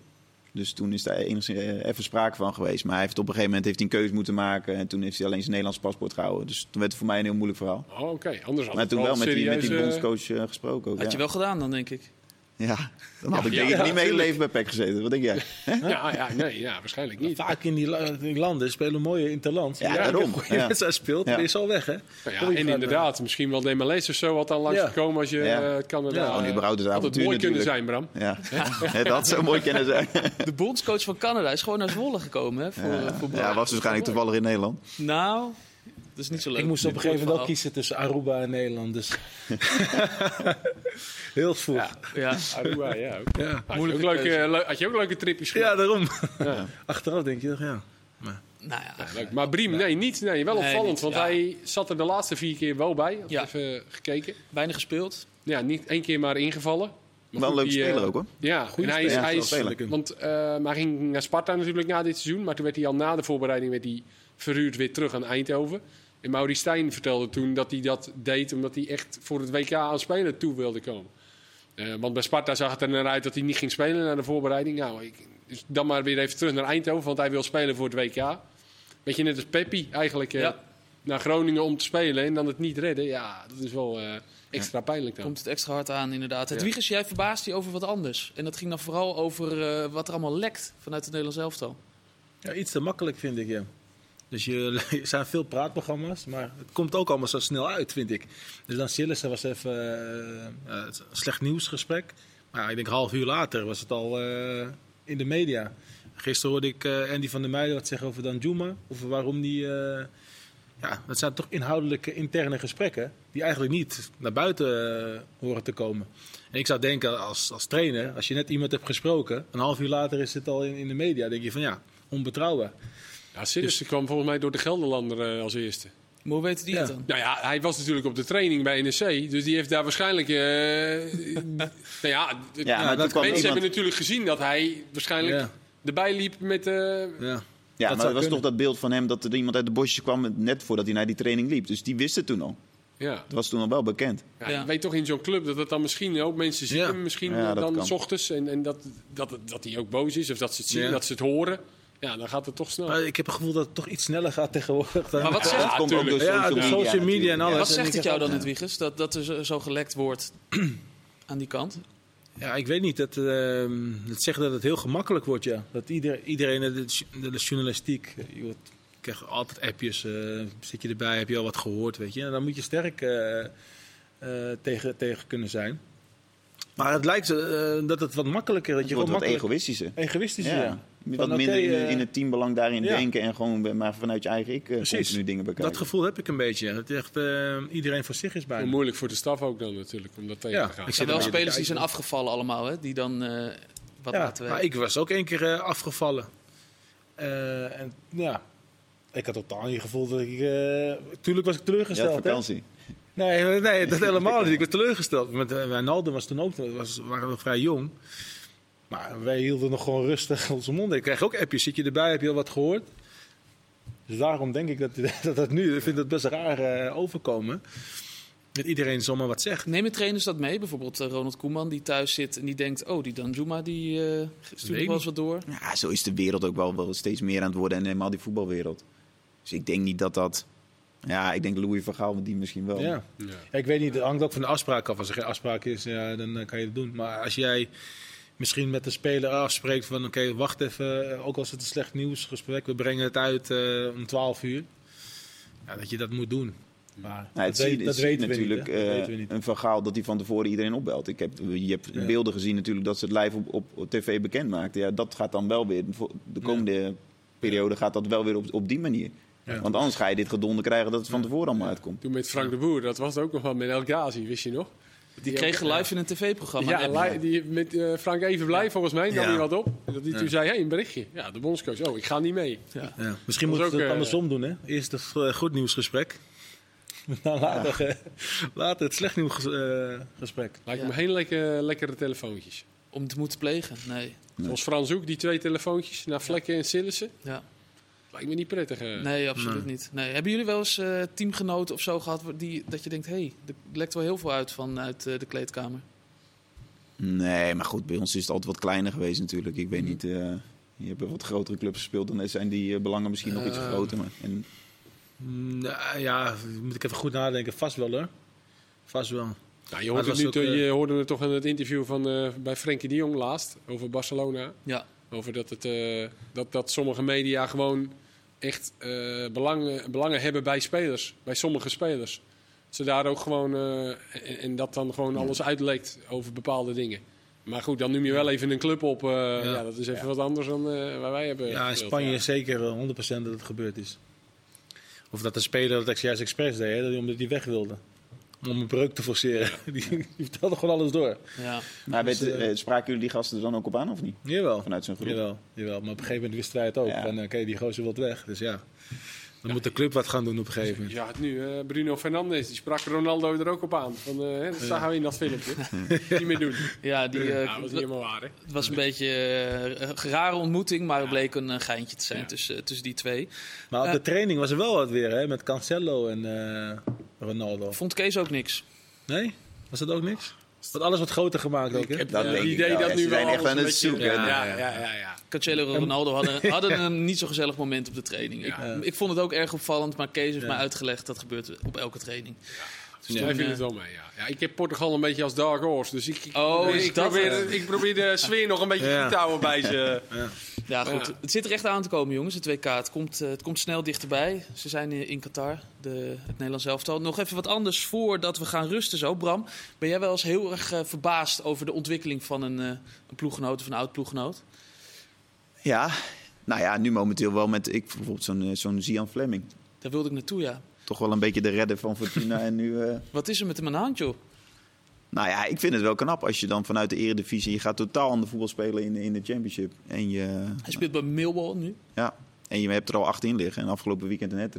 Speaker 2: Dus toen is daar enigszins eh, even sprake van geweest. Maar hij heeft op een gegeven moment heeft hij een keuze moeten maken. En toen heeft hij alleen zijn Nederlands paspoort gehouden. Dus toen werd het voor mij een heel moeilijk verhaal.
Speaker 3: Oh, oké. Anders had
Speaker 2: Maar
Speaker 3: het
Speaker 2: toen wel
Speaker 3: een
Speaker 2: met die, met die
Speaker 3: serieuze-
Speaker 2: bondscoach eh, gesproken. Ook,
Speaker 1: Had
Speaker 2: ja.
Speaker 1: je wel gedaan dan, denk ik.
Speaker 2: Ja, dan had ik
Speaker 3: Ja,
Speaker 2: denk
Speaker 3: ja,
Speaker 2: ik niet mijn hele
Speaker 3: tuurlijk.
Speaker 2: leven bij PEC gezeten. Wat denk jij?
Speaker 3: Ja, ja, nee, ja, waarschijnlijk niet.
Speaker 4: Vaak in die, la- die landen spelen mooie interland.
Speaker 2: Ja,
Speaker 4: Als je
Speaker 2: daarom.
Speaker 4: een goede
Speaker 2: Ja.
Speaker 4: wedstrijd speelt,
Speaker 2: Ja.
Speaker 4: dan is ze al weg, hè?
Speaker 3: Nou
Speaker 4: Kom je
Speaker 3: ja, en
Speaker 4: van,
Speaker 3: inderdaad, misschien wel Demarais of zo had dan langs
Speaker 4: Ja.
Speaker 3: gekomen als je
Speaker 2: Ja.
Speaker 3: eh, Canada...
Speaker 4: Ja,
Speaker 2: gewoon
Speaker 3: eh,
Speaker 2: überhaupt het
Speaker 3: had het
Speaker 2: avontuur
Speaker 3: mooi kunnen
Speaker 2: natuurlijk.
Speaker 3: zijn, Bram.
Speaker 2: Ja, het had zo mooi kunnen zijn.
Speaker 1: De bondscoach van Canada is gewoon naar Zwolle gekomen, hè, voor, eh, voor Bram.
Speaker 2: Ja, was waarschijnlijk toevallig in Nederland.
Speaker 1: Nou, dat is niet zo leuk.
Speaker 4: Ik moest op een
Speaker 1: Dit
Speaker 4: gegeven moment wel
Speaker 1: wordt
Speaker 4: kiezen tussen Aruba en Nederland. Dus. Heel vroeg. Ja,
Speaker 1: verhaal. Ja.
Speaker 3: Aruba, ja. Ook.
Speaker 4: ja.
Speaker 3: Had, je ook leuke, le- had je ook leuke tripjes gedaan.
Speaker 4: daarom.
Speaker 3: Ja.
Speaker 4: Achteraf denk je, toch, ja.
Speaker 1: Nou ja,
Speaker 3: Leuk. Maar Briem, nee, niet. Nee, wel
Speaker 1: Nee,
Speaker 3: opvallend,
Speaker 1: niet,
Speaker 3: want
Speaker 1: ja.
Speaker 3: hij zat er de laatste vier keer wel bij. Had
Speaker 1: Ja.
Speaker 3: Even gekeken.
Speaker 1: weinig gespeeld.
Speaker 3: Ja, niet één keer maar ingevallen.
Speaker 2: Wel
Speaker 3: Maar
Speaker 2: een
Speaker 3: goed,
Speaker 2: leuke
Speaker 3: die, eh,
Speaker 2: speler ook hoor.
Speaker 3: Ja, en hij
Speaker 2: speler.
Speaker 3: is,
Speaker 2: Ja,
Speaker 3: hij
Speaker 2: wel
Speaker 3: is
Speaker 2: speler.
Speaker 3: want eh, maar hij ging naar Sparta natuurlijk na dit seizoen, maar toen werd hij al na de voorbereiding werd hij verhuurd weer terug aan Eindhoven. En Mauri Stijn vertelde toen dat hij dat deed omdat hij echt voor het WK aan spelen toe wilde komen. Eh, want bij Sparta zag het er naar uit dat hij niet ging spelen na de voorbereiding. Nou, ik, dus dan maar weer even terug naar Eindhoven, want hij wil spelen voor het WK. Weet je, net als Peppi eigenlijk eh,
Speaker 1: Ja.
Speaker 3: naar Groningen om te spelen en dan het niet redden. Ja, dat is wel eh, extra pijnlijk dan.
Speaker 1: Komt het extra hard aan, inderdaad. Het
Speaker 3: Ja.
Speaker 1: Wiegers, jij verbaast je over wat anders. En dat ging dan vooral over eh, wat er allemaal lekt vanuit het Nederlands elftal.
Speaker 4: Ja, iets te makkelijk vind ik, ja. Dus je, er zijn veel praatprogramma's, maar het komt ook allemaal zo snel uit, vind ik. Dus dan Sillissen was even eh, eh, het slecht nieuwsgesprek. Maar ja, ik denk half uur later was het al eh, in de media. Gisteren hoorde ik eh, Andy van der Meijden wat zeggen over Danjuma. Over waarom die... eh, ja, dat zijn toch inhoudelijke interne gesprekken die eigenlijk niet naar buiten eh, horen te komen. En ik zou denken als, als trainer, als je net iemand hebt gesproken, een half uur later is het al in, in de media. Dan denk je van ja, onbetrouwbaar.
Speaker 3: Ja, Sillissen
Speaker 1: Dus-
Speaker 3: kwam volgens mij door de Gelderlander eh, als eerste.
Speaker 1: Maar hoe weten die
Speaker 4: Ja.
Speaker 1: het dan?
Speaker 3: Nou ja, hij was natuurlijk op de training bij NEC. Dus die heeft daar waarschijnlijk... eh, nou ja, d-
Speaker 2: Ja, maar toen kwam
Speaker 4: dat
Speaker 3: mensen
Speaker 2: iemand...
Speaker 3: hebben natuurlijk gezien dat hij waarschijnlijk
Speaker 4: Ja.
Speaker 3: erbij liep met... eh,
Speaker 4: Ja.
Speaker 2: Ja, maar
Speaker 4: dat zou
Speaker 2: het was toch
Speaker 4: kunnen.
Speaker 2: dat beeld van hem dat er iemand uit de bosjes kwam net voordat hij naar die training liep. Dus die wist het toen al.
Speaker 3: ja.
Speaker 2: Dat was toen al wel bekend.
Speaker 3: Ja,
Speaker 1: Ja.
Speaker 3: Je weet toch in zo'n club dat het dan misschien ook mensen zien
Speaker 4: Ja.
Speaker 3: hem misschien
Speaker 2: Ja,
Speaker 3: eh,
Speaker 2: dat
Speaker 3: dan
Speaker 2: kan.
Speaker 3: s ochtends. En, en dat, dat, dat hij ook boos is of dat ze het zien,
Speaker 4: Ja.
Speaker 3: dat ze het horen. Ja, dan gaat het toch snel.
Speaker 4: Maar ik heb het gevoel dat het toch iets sneller gaat tegenwoordig. Dan
Speaker 1: Maar wat
Speaker 2: Ja,
Speaker 1: zegt,
Speaker 2: dat komt ook door
Speaker 3: tuurlijk.
Speaker 2: social
Speaker 4: Ja, door
Speaker 2: media.
Speaker 4: social media
Speaker 2: natuurlijk.
Speaker 4: en alles.
Speaker 1: wat
Speaker 4: en
Speaker 1: zegt
Speaker 4: ik
Speaker 1: het
Speaker 4: zeg
Speaker 1: jou dan,
Speaker 4: ook,
Speaker 1: het Wiegers? Dat, dat er zo, zo gelekt wordt aan die kant?
Speaker 4: Ja, ik weet niet. Dat, ehm dat zeggen dat het heel gemakkelijk wordt, ja. Dat ieder, iedereen, de, de, de journalistiek, eh, je wordt, je krijgt altijd appjes. eh, zit je erbij, heb je al wat gehoord, weet je. En dan moet je sterk eh, eh, tegen, tegen kunnen zijn. Maar het lijkt eh, dat het wat makkelijker, dat
Speaker 2: Het
Speaker 4: je
Speaker 2: wordt wat
Speaker 4: gewoon makkelijk...
Speaker 2: egoïstischer.
Speaker 4: Egoïstisch, ja.
Speaker 2: Ja. Wat
Speaker 4: Van,
Speaker 2: minder
Speaker 4: oké,
Speaker 2: in, de-
Speaker 4: eh,
Speaker 2: in het teambelang daarin
Speaker 4: ja.
Speaker 2: denken en gewoon eh, maar vanuit je eigen ik eh,
Speaker 4: Precies.
Speaker 2: continu dingen bekijken.
Speaker 4: Dat gevoel heb ik een beetje. ja. Dat echt eh, iedereen voor zich is
Speaker 3: Heel
Speaker 4: bijna.
Speaker 3: moeilijk voor de staf ook dan natuurlijk om dat tegen
Speaker 4: Ja,
Speaker 3: te gaan.
Speaker 1: Er
Speaker 4: ik zit
Speaker 1: zijn wel
Speaker 4: erbij te
Speaker 1: spelers die
Speaker 4: kijken.
Speaker 1: zijn afgevallen allemaal, hè? Die dan eh, wat
Speaker 4: Ja,
Speaker 1: laten
Speaker 4: maar
Speaker 1: weten.
Speaker 4: ik was ook één keer eh, afgevallen. Eh, en ja, ik had totaal niet het gevoel dat ik... eh, tuurlijk was ik
Speaker 2: Je had
Speaker 4: teleurgesteld, hè?
Speaker 2: vakantie.
Speaker 4: Nee, nee, dat helemaal niet. Ik was teleurgesteld. Met eh, Wijnaldum was toen ook, was, waren we vrij jong. Maar wij hielden nog gewoon rustig onze mond. Ik kreeg ook appjes. Zit je erbij? Heb je al wat gehoord? Dus daarom denk ik dat dat, dat nu... Ik vind dat best raar eh, overkomen. Dat iedereen zomaar wat zegt.
Speaker 1: Nemen trainers dat mee? Bijvoorbeeld eh, Ronald Koeman die thuis zit en die denkt... oh, die Danjuma die eh stuurt nog
Speaker 4: niet.
Speaker 1: wel eens wat door.
Speaker 2: Ja, zo is de wereld ook wel, wel steeds meer aan het worden en helemaal die voetbalwereld. Dus ik denk niet dat dat... Ja, ik denk Louis van Gaal, die misschien wel.
Speaker 4: Ja.
Speaker 3: Ja.
Speaker 4: Ja, ik weet niet, het hangt ook van de afspraak af. Als er geen afspraak is, ja, dan eh, kan je het doen. Maar als jij misschien met de speler afspreekt van oké, wacht even, eh, ook als het een slecht nieuwsgesprek, we brengen het uit eh, om 12 uur. Ja, dat je dat moet doen. Maar
Speaker 2: Nou, het
Speaker 4: dat,
Speaker 2: zie-
Speaker 4: weet, dat
Speaker 2: het
Speaker 4: weten
Speaker 2: ziet
Speaker 4: we
Speaker 2: natuurlijk
Speaker 4: niet. hè. Dat
Speaker 2: eh,
Speaker 4: weten we niet.
Speaker 2: een verhaal dat hij van tevoren iedereen opbelt. Ik heb, je hebt
Speaker 4: Ja.
Speaker 2: beelden gezien natuurlijk dat ze het live op, op, op tv bekend maakten. Ja, dat gaat dan wel weer. voor De komende periode gaat dat wel weer op, op die manier.
Speaker 4: Ja.
Speaker 2: Want anders ga je dit gedonde krijgen dat het van tevoren allemaal uitkomt.
Speaker 3: Toen met Frank de Boer, dat was het ook nog wel met El Ghazi, wist je nog?
Speaker 1: Die kregen live in een tv-programma.
Speaker 3: Ja,
Speaker 1: een app.
Speaker 3: li- die, met eh, Frank even blij volgens mij, nam
Speaker 4: Ja.
Speaker 3: hij wat op. Dat die toen zei, hé, hey, een berichtje. Ja, de bondscoach, oh, ik ga niet mee.
Speaker 4: Ja, misschien
Speaker 3: Dat
Speaker 4: moeten
Speaker 3: was
Speaker 4: we
Speaker 3: ook,
Speaker 4: het
Speaker 3: eh,
Speaker 4: andersom doen, hè? Eerst het eh, goed nieuwsgesprek. Dan later, eh, later het slecht eh, nieuwsgesprek.
Speaker 3: Lijkt
Speaker 1: Ja.
Speaker 3: me geen lekker, lekkere telefoontjes.
Speaker 1: Om te moeten plegen. Nee.
Speaker 3: Volgens Frans ook, die twee telefoontjes naar Vlekken en Sillissen.
Speaker 1: Ja.
Speaker 3: Lijkt me niet prettig. eh.
Speaker 1: Nee, absoluut niet. Nee. Hebben jullie wel eens eh, teamgenoten of zo gehad waar- die, dat je denkt: hé, hey, er lekt wel heel veel uit vanuit eh, de kleedkamer?
Speaker 2: Nee, maar goed, bij ons is het altijd wat kleiner geweest natuurlijk. Ik
Speaker 4: Mm.
Speaker 2: weet niet, eh, je hebt bij wat grotere clubs gespeeld. Dan zijn die eh, belangen misschien nog iets
Speaker 4: Eh,
Speaker 2: groter. Maar, en,
Speaker 4: Mm, nou ja, moet ik even goed nadenken. Vast wel, hoor. Vast wel.
Speaker 3: Nou, je,
Speaker 4: Maar
Speaker 3: hoorde
Speaker 4: het
Speaker 3: het nu,
Speaker 4: was ook,
Speaker 3: te-
Speaker 4: eh,
Speaker 3: je hoorde het toch in het interview van, eh, bij Frenkie de Jong laatst, over Barcelona.
Speaker 1: Ja.
Speaker 3: Over dat, het, eh, dat, dat sommige media gewoon echt eh, belangen, belangen hebben bij spelers. Bij sommige spelers. Ze daar ook gewoon... eh, en, en dat dan gewoon alles uitlekt over bepaalde dingen. Maar goed, dan noem je wel even een club op. eh, ja. dat is even wat anders dan eh, waar wij hebben
Speaker 4: Ja, in
Speaker 3: gespeeld.
Speaker 4: Spanje
Speaker 3: Ja.
Speaker 4: is zeker eh, 100% dat het gebeurd is. Of dat de speler dat ex- juist expres deed, hè, dat hij- omdat hij weg wilde. Om een breuk te forceren. Die, die vertelde gewoon alles door.
Speaker 1: ja.
Speaker 2: maar
Speaker 4: dus,
Speaker 2: weet-
Speaker 4: eh,
Speaker 2: eh, spraken jullie die gasten er dan ook op aan of niet?
Speaker 4: Jawel.
Speaker 2: Vanuit zo'n groep?
Speaker 4: Jawel, jawel, maar op een gegeven moment wist hij het ook.
Speaker 2: Ja.
Speaker 4: Van, Oké, die gozer wil weg. Dus ja, dan moet de club wat gaan doen op een gegeven moment.
Speaker 3: Ja, het nu. eh, Bruno Fernandes, die sprak Ronaldo er ook op aan. Van, eh, hè, dat staan we in dat filmpje. niet meer doen.
Speaker 1: ja, die. eh,
Speaker 3: Ja, dat is niet helemaal waar, hè?
Speaker 1: Het was een beetje eh, een rare ontmoeting, maar het bleek een eh, geintje te zijn tussen, tussen die twee.
Speaker 4: Maar op
Speaker 1: Ja.
Speaker 4: de training was er wel wat weer, hè? Met Cancelo en eh, Ronaldo.
Speaker 1: Vond Kees ook niks.
Speaker 4: Nee? Was dat ook niks? Wordt alles wat groter gemaakt ook, hè?
Speaker 3: heb
Speaker 2: Dat
Speaker 3: eh,
Speaker 2: denk
Speaker 3: het
Speaker 2: ik
Speaker 3: idee
Speaker 2: wel.
Speaker 3: dat
Speaker 2: Ja,
Speaker 3: nu
Speaker 2: ze
Speaker 3: wel
Speaker 2: zijn echt
Speaker 3: alles
Speaker 2: aan
Speaker 3: een
Speaker 2: het
Speaker 3: beetje-
Speaker 2: zoeken.
Speaker 3: Ja, ja, ja, ja, ja.
Speaker 1: Cancelo en Ronaldo hadden, hadden een niet zo gezellig moment op de training.
Speaker 3: Ja.
Speaker 1: Ik, ik vond het ook erg opvallend, maar Kees heeft
Speaker 4: Ja.
Speaker 1: mij uitgelegd dat gebeurt op elke training.
Speaker 3: Dus Jij
Speaker 1: toen,
Speaker 3: vindt
Speaker 1: eh,
Speaker 3: het wel mee, ja. ja. Ik heb Portugal een beetje als dark horse, dus ik, ik,
Speaker 1: Oh,
Speaker 3: probeer,
Speaker 1: is
Speaker 3: ik,
Speaker 1: dat
Speaker 3: probeer,
Speaker 1: het?
Speaker 3: ik probeer de sfeer nog een beetje
Speaker 4: Ja.
Speaker 3: goed te houden bij ze.
Speaker 1: Ja, goed.
Speaker 3: Ja.
Speaker 1: Het zit er echt aan te komen, jongens, het WK. Het komt, eh, het komt snel dichterbij. Ze zijn in in Qatar, de, het Nederlands elftal. Nog even wat anders voordat we gaan rusten zo. Bram, ben jij wel eens heel erg eh, verbaasd over de ontwikkeling van een, eh, een ploeggenoot of een oud-ploeggenoot?
Speaker 2: Ja, nou ja, nu momenteel wel met ik, bijvoorbeeld zo'n eh, zo'n Zian Fleming.
Speaker 1: Daar wilde ik naartoe, ja.
Speaker 2: Toch wel een beetje de redder van Fortuna en nu... eh,
Speaker 1: Wat is er met hem aan de hand, joh?
Speaker 2: Nou ja, ik vind het wel knap als je dan vanuit de eredivisie... je gaat totaal ander voetbal spelen in, in de championship. En je,
Speaker 1: Hij speelt bij Millwall nu.
Speaker 2: ja, en je hebt er al acht in liggen. En afgelopen weekend een hat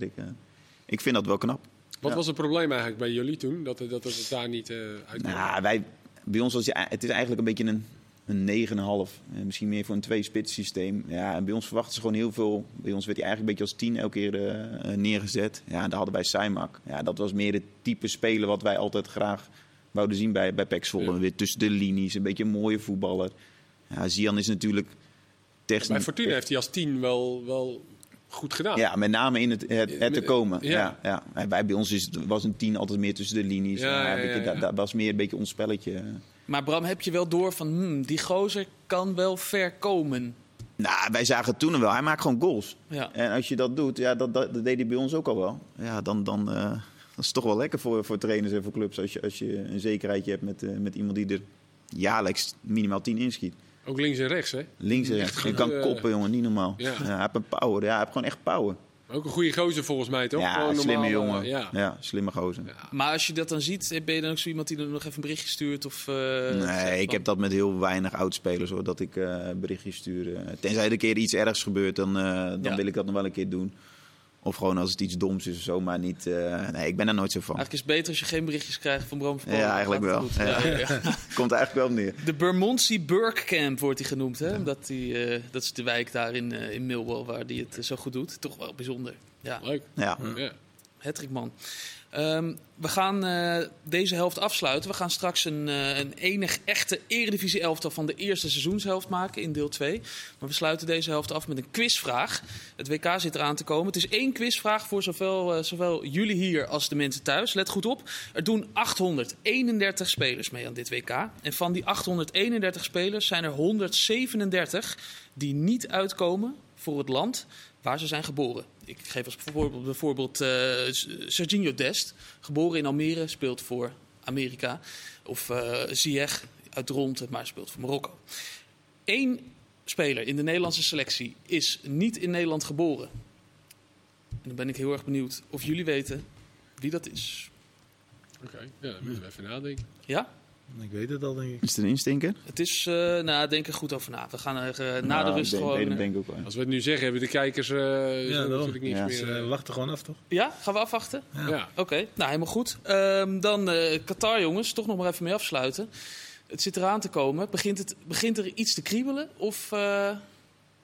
Speaker 2: Ik vind dat wel knap.
Speaker 3: Wat
Speaker 2: Ja.
Speaker 3: was het probleem eigenlijk bij jullie toen, dat, dat het daar niet eh uit kwam?
Speaker 2: Nou, wij, bij ons was je- het is eigenlijk een beetje een, een 9,5. Eh, Misschien meer voor een twee-spits systeem. Ja, en bij ons verwachten ze gewoon heel veel. Bij ons werd hij eigenlijk een beetje als 10 elke keer eh, eh, neergezet. Ja, en daar hadden wij Saimak. Ja, dat was meer het type spelen wat wij altijd graag wouden zien bij, bij PEC Zwolle.
Speaker 3: Ja.
Speaker 2: Weer tussen de linies, een beetje een mooie voetballer. Ja, Zian is natuurlijk... Technisch,
Speaker 3: Bij Fortuna heeft hij als tien wel, wel goed gedaan.
Speaker 2: ja, met name in het, het, het te komen.
Speaker 3: Ja.
Speaker 2: Ja. Ja, En wij, bij ons is, het- was een tien altijd meer tussen de linies.
Speaker 3: Ja,
Speaker 2: Ja,
Speaker 3: ja,
Speaker 2: een beetje-
Speaker 3: ja, ja.
Speaker 2: Dat, dat was meer een beetje ons spelletje.
Speaker 1: Maar Bram, heb je wel door van, hmm, die gozer kan wel ver komen?
Speaker 2: Nou, wij zagen het toen al wel. Hij maakt gewoon goals.
Speaker 1: Ja.
Speaker 2: En als je dat doet, ja, dat, dat, dat deed hij bij ons ook al wel. Ja, dan, dan eh, dat is toch wel lekker voor, voor trainers en voor clubs. Als je, als je een zekerheidje hebt met, eh, met iemand die er jaarlijks minimaal 10 inschiet.
Speaker 3: Ook links en rechts, hè?
Speaker 2: Links en rechts. Je
Speaker 3: goed, eh,
Speaker 2: kan koppen, jongen. Niet normaal.
Speaker 3: Ja.
Speaker 2: Ja. hij heeft een power. Ja, hij heeft gewoon echt power.
Speaker 3: Maar ook een goede gozer volgens mij, toch?
Speaker 2: ja,
Speaker 3: Gewoon
Speaker 2: slimme
Speaker 3: normaal, eh,
Speaker 2: jongen.
Speaker 3: ja.
Speaker 2: ja. slimme gozer.
Speaker 1: Maar als je dat dan ziet, ben je dan ook zo iemand die dan nog even een berichtje stuurt? Of, eh, zegt
Speaker 2: Nee, ik
Speaker 1: van-
Speaker 2: heb dat met heel weinig oudspelers hoor, dat ik eh, berichtjes stuur. Eh, Tenzij er een keer iets ergs gebeurt, dan, eh, dan
Speaker 1: Ja.
Speaker 2: wil ik dat nog wel een keer doen. Of gewoon als het iets doms is of zo, maar niet... eh, nee, ik ben daar nooit zo van.
Speaker 1: Eigenlijk is het beter als je geen berichtjes krijgt van Bram van Polen.
Speaker 2: Ja, eigenlijk
Speaker 1: Dan gaat het
Speaker 2: wel.
Speaker 1: goed. Ja, ja.
Speaker 2: Komt er eigenlijk wel op neer.
Speaker 1: De Bermondsey Burkcamp wordt hij genoemd. Hè? Omdat die, eh, dat is de wijk daar in, eh, in Millwall waar die het eh, zo goed doet. Toch wel bijzonder. Ja,
Speaker 3: Leuk.
Speaker 2: Ja.
Speaker 3: Ja.
Speaker 1: Hattrickman. Ehm, we gaan eh, deze helft afsluiten. We gaan straks een, eh, een enig echte eredivisie-elftal van de eerste seizoenshelft maken in deel 2. Maar we sluiten deze helft af met een quizvraag. Het WK zit eraan te komen. Het is één quizvraag voor zowel, eh, zowel jullie hier als de mensen thuis. Let goed op. Er doen 831 spelers mee aan dit WK. En van die 831 spelers zijn er 137 die niet uitkomen voor het land waar ze zijn geboren. Ik geef als voorbeeld bijvoorbeeld eh, S- Serginho Dest, geboren in Almere, speelt voor Amerika. Of eh Ziyech uit Dronten, maar speelt voor Marokko. Eén speler in de Nederlandse selectie is niet in Nederland geboren. En dan ben ik heel erg benieuwd of jullie weten wie dat is.
Speaker 3: Oké, ja, dan moeten we even nadenken.
Speaker 1: Ja?
Speaker 4: Ik weet het al, denk ik.
Speaker 2: Is het een instinker?
Speaker 1: Het is, eh nou, denk er goed over na. We gaan er eh, na de
Speaker 2: Nou,
Speaker 1: rust
Speaker 2: ik denk-
Speaker 1: gewoon...
Speaker 2: nee, dat
Speaker 1: eh,
Speaker 2: denk ik ook wel.
Speaker 3: Als we het nu zeggen, hebben de kijkers eh, zo
Speaker 4: daarom.
Speaker 3: natuurlijk niks
Speaker 2: Ja.
Speaker 4: Dus,
Speaker 3: meer.
Speaker 4: eh,
Speaker 3: eh,
Speaker 4: we wachten gewoon af, toch?
Speaker 1: Ja, gaan we afwachten?
Speaker 3: ja.
Speaker 1: Oké, nou helemaal goed. Ehm, dan eh, Qatar, jongens, toch nog maar even mee afsluiten. Het zit eraan te komen. Begint, het, begint er iets te kriebelen? Of eh,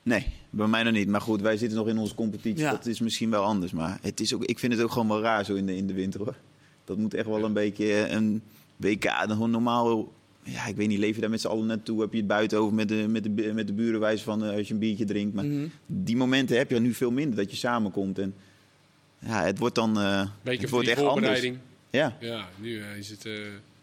Speaker 2: Nee, bij mij nog niet. Maar goed, wij zitten nog in onze competitie.
Speaker 1: Ja.
Speaker 2: Dat is misschien wel anders. Maar het is ook, ik vind het ook gewoon wel raar zo in de, in de winter hoor. Dat moet echt wel een beetje eh, een WK. Dan gewoon normaal. Ja, ik weet niet, leef je daar met z'n allen naartoe? Heb je het buiten over met de, met de, bu- met de buren wijs van eh, als je een biertje drinkt? Maar
Speaker 1: Mhm.
Speaker 2: die momenten heb je nu veel minder dat je samenkomt. En ja, het wordt dan. eh het
Speaker 3: Beetje voor
Speaker 2: wordt
Speaker 3: die
Speaker 2: echt anders.
Speaker 3: voorbereiding.
Speaker 2: Ja,
Speaker 3: Ja, nu eh, is het... eh,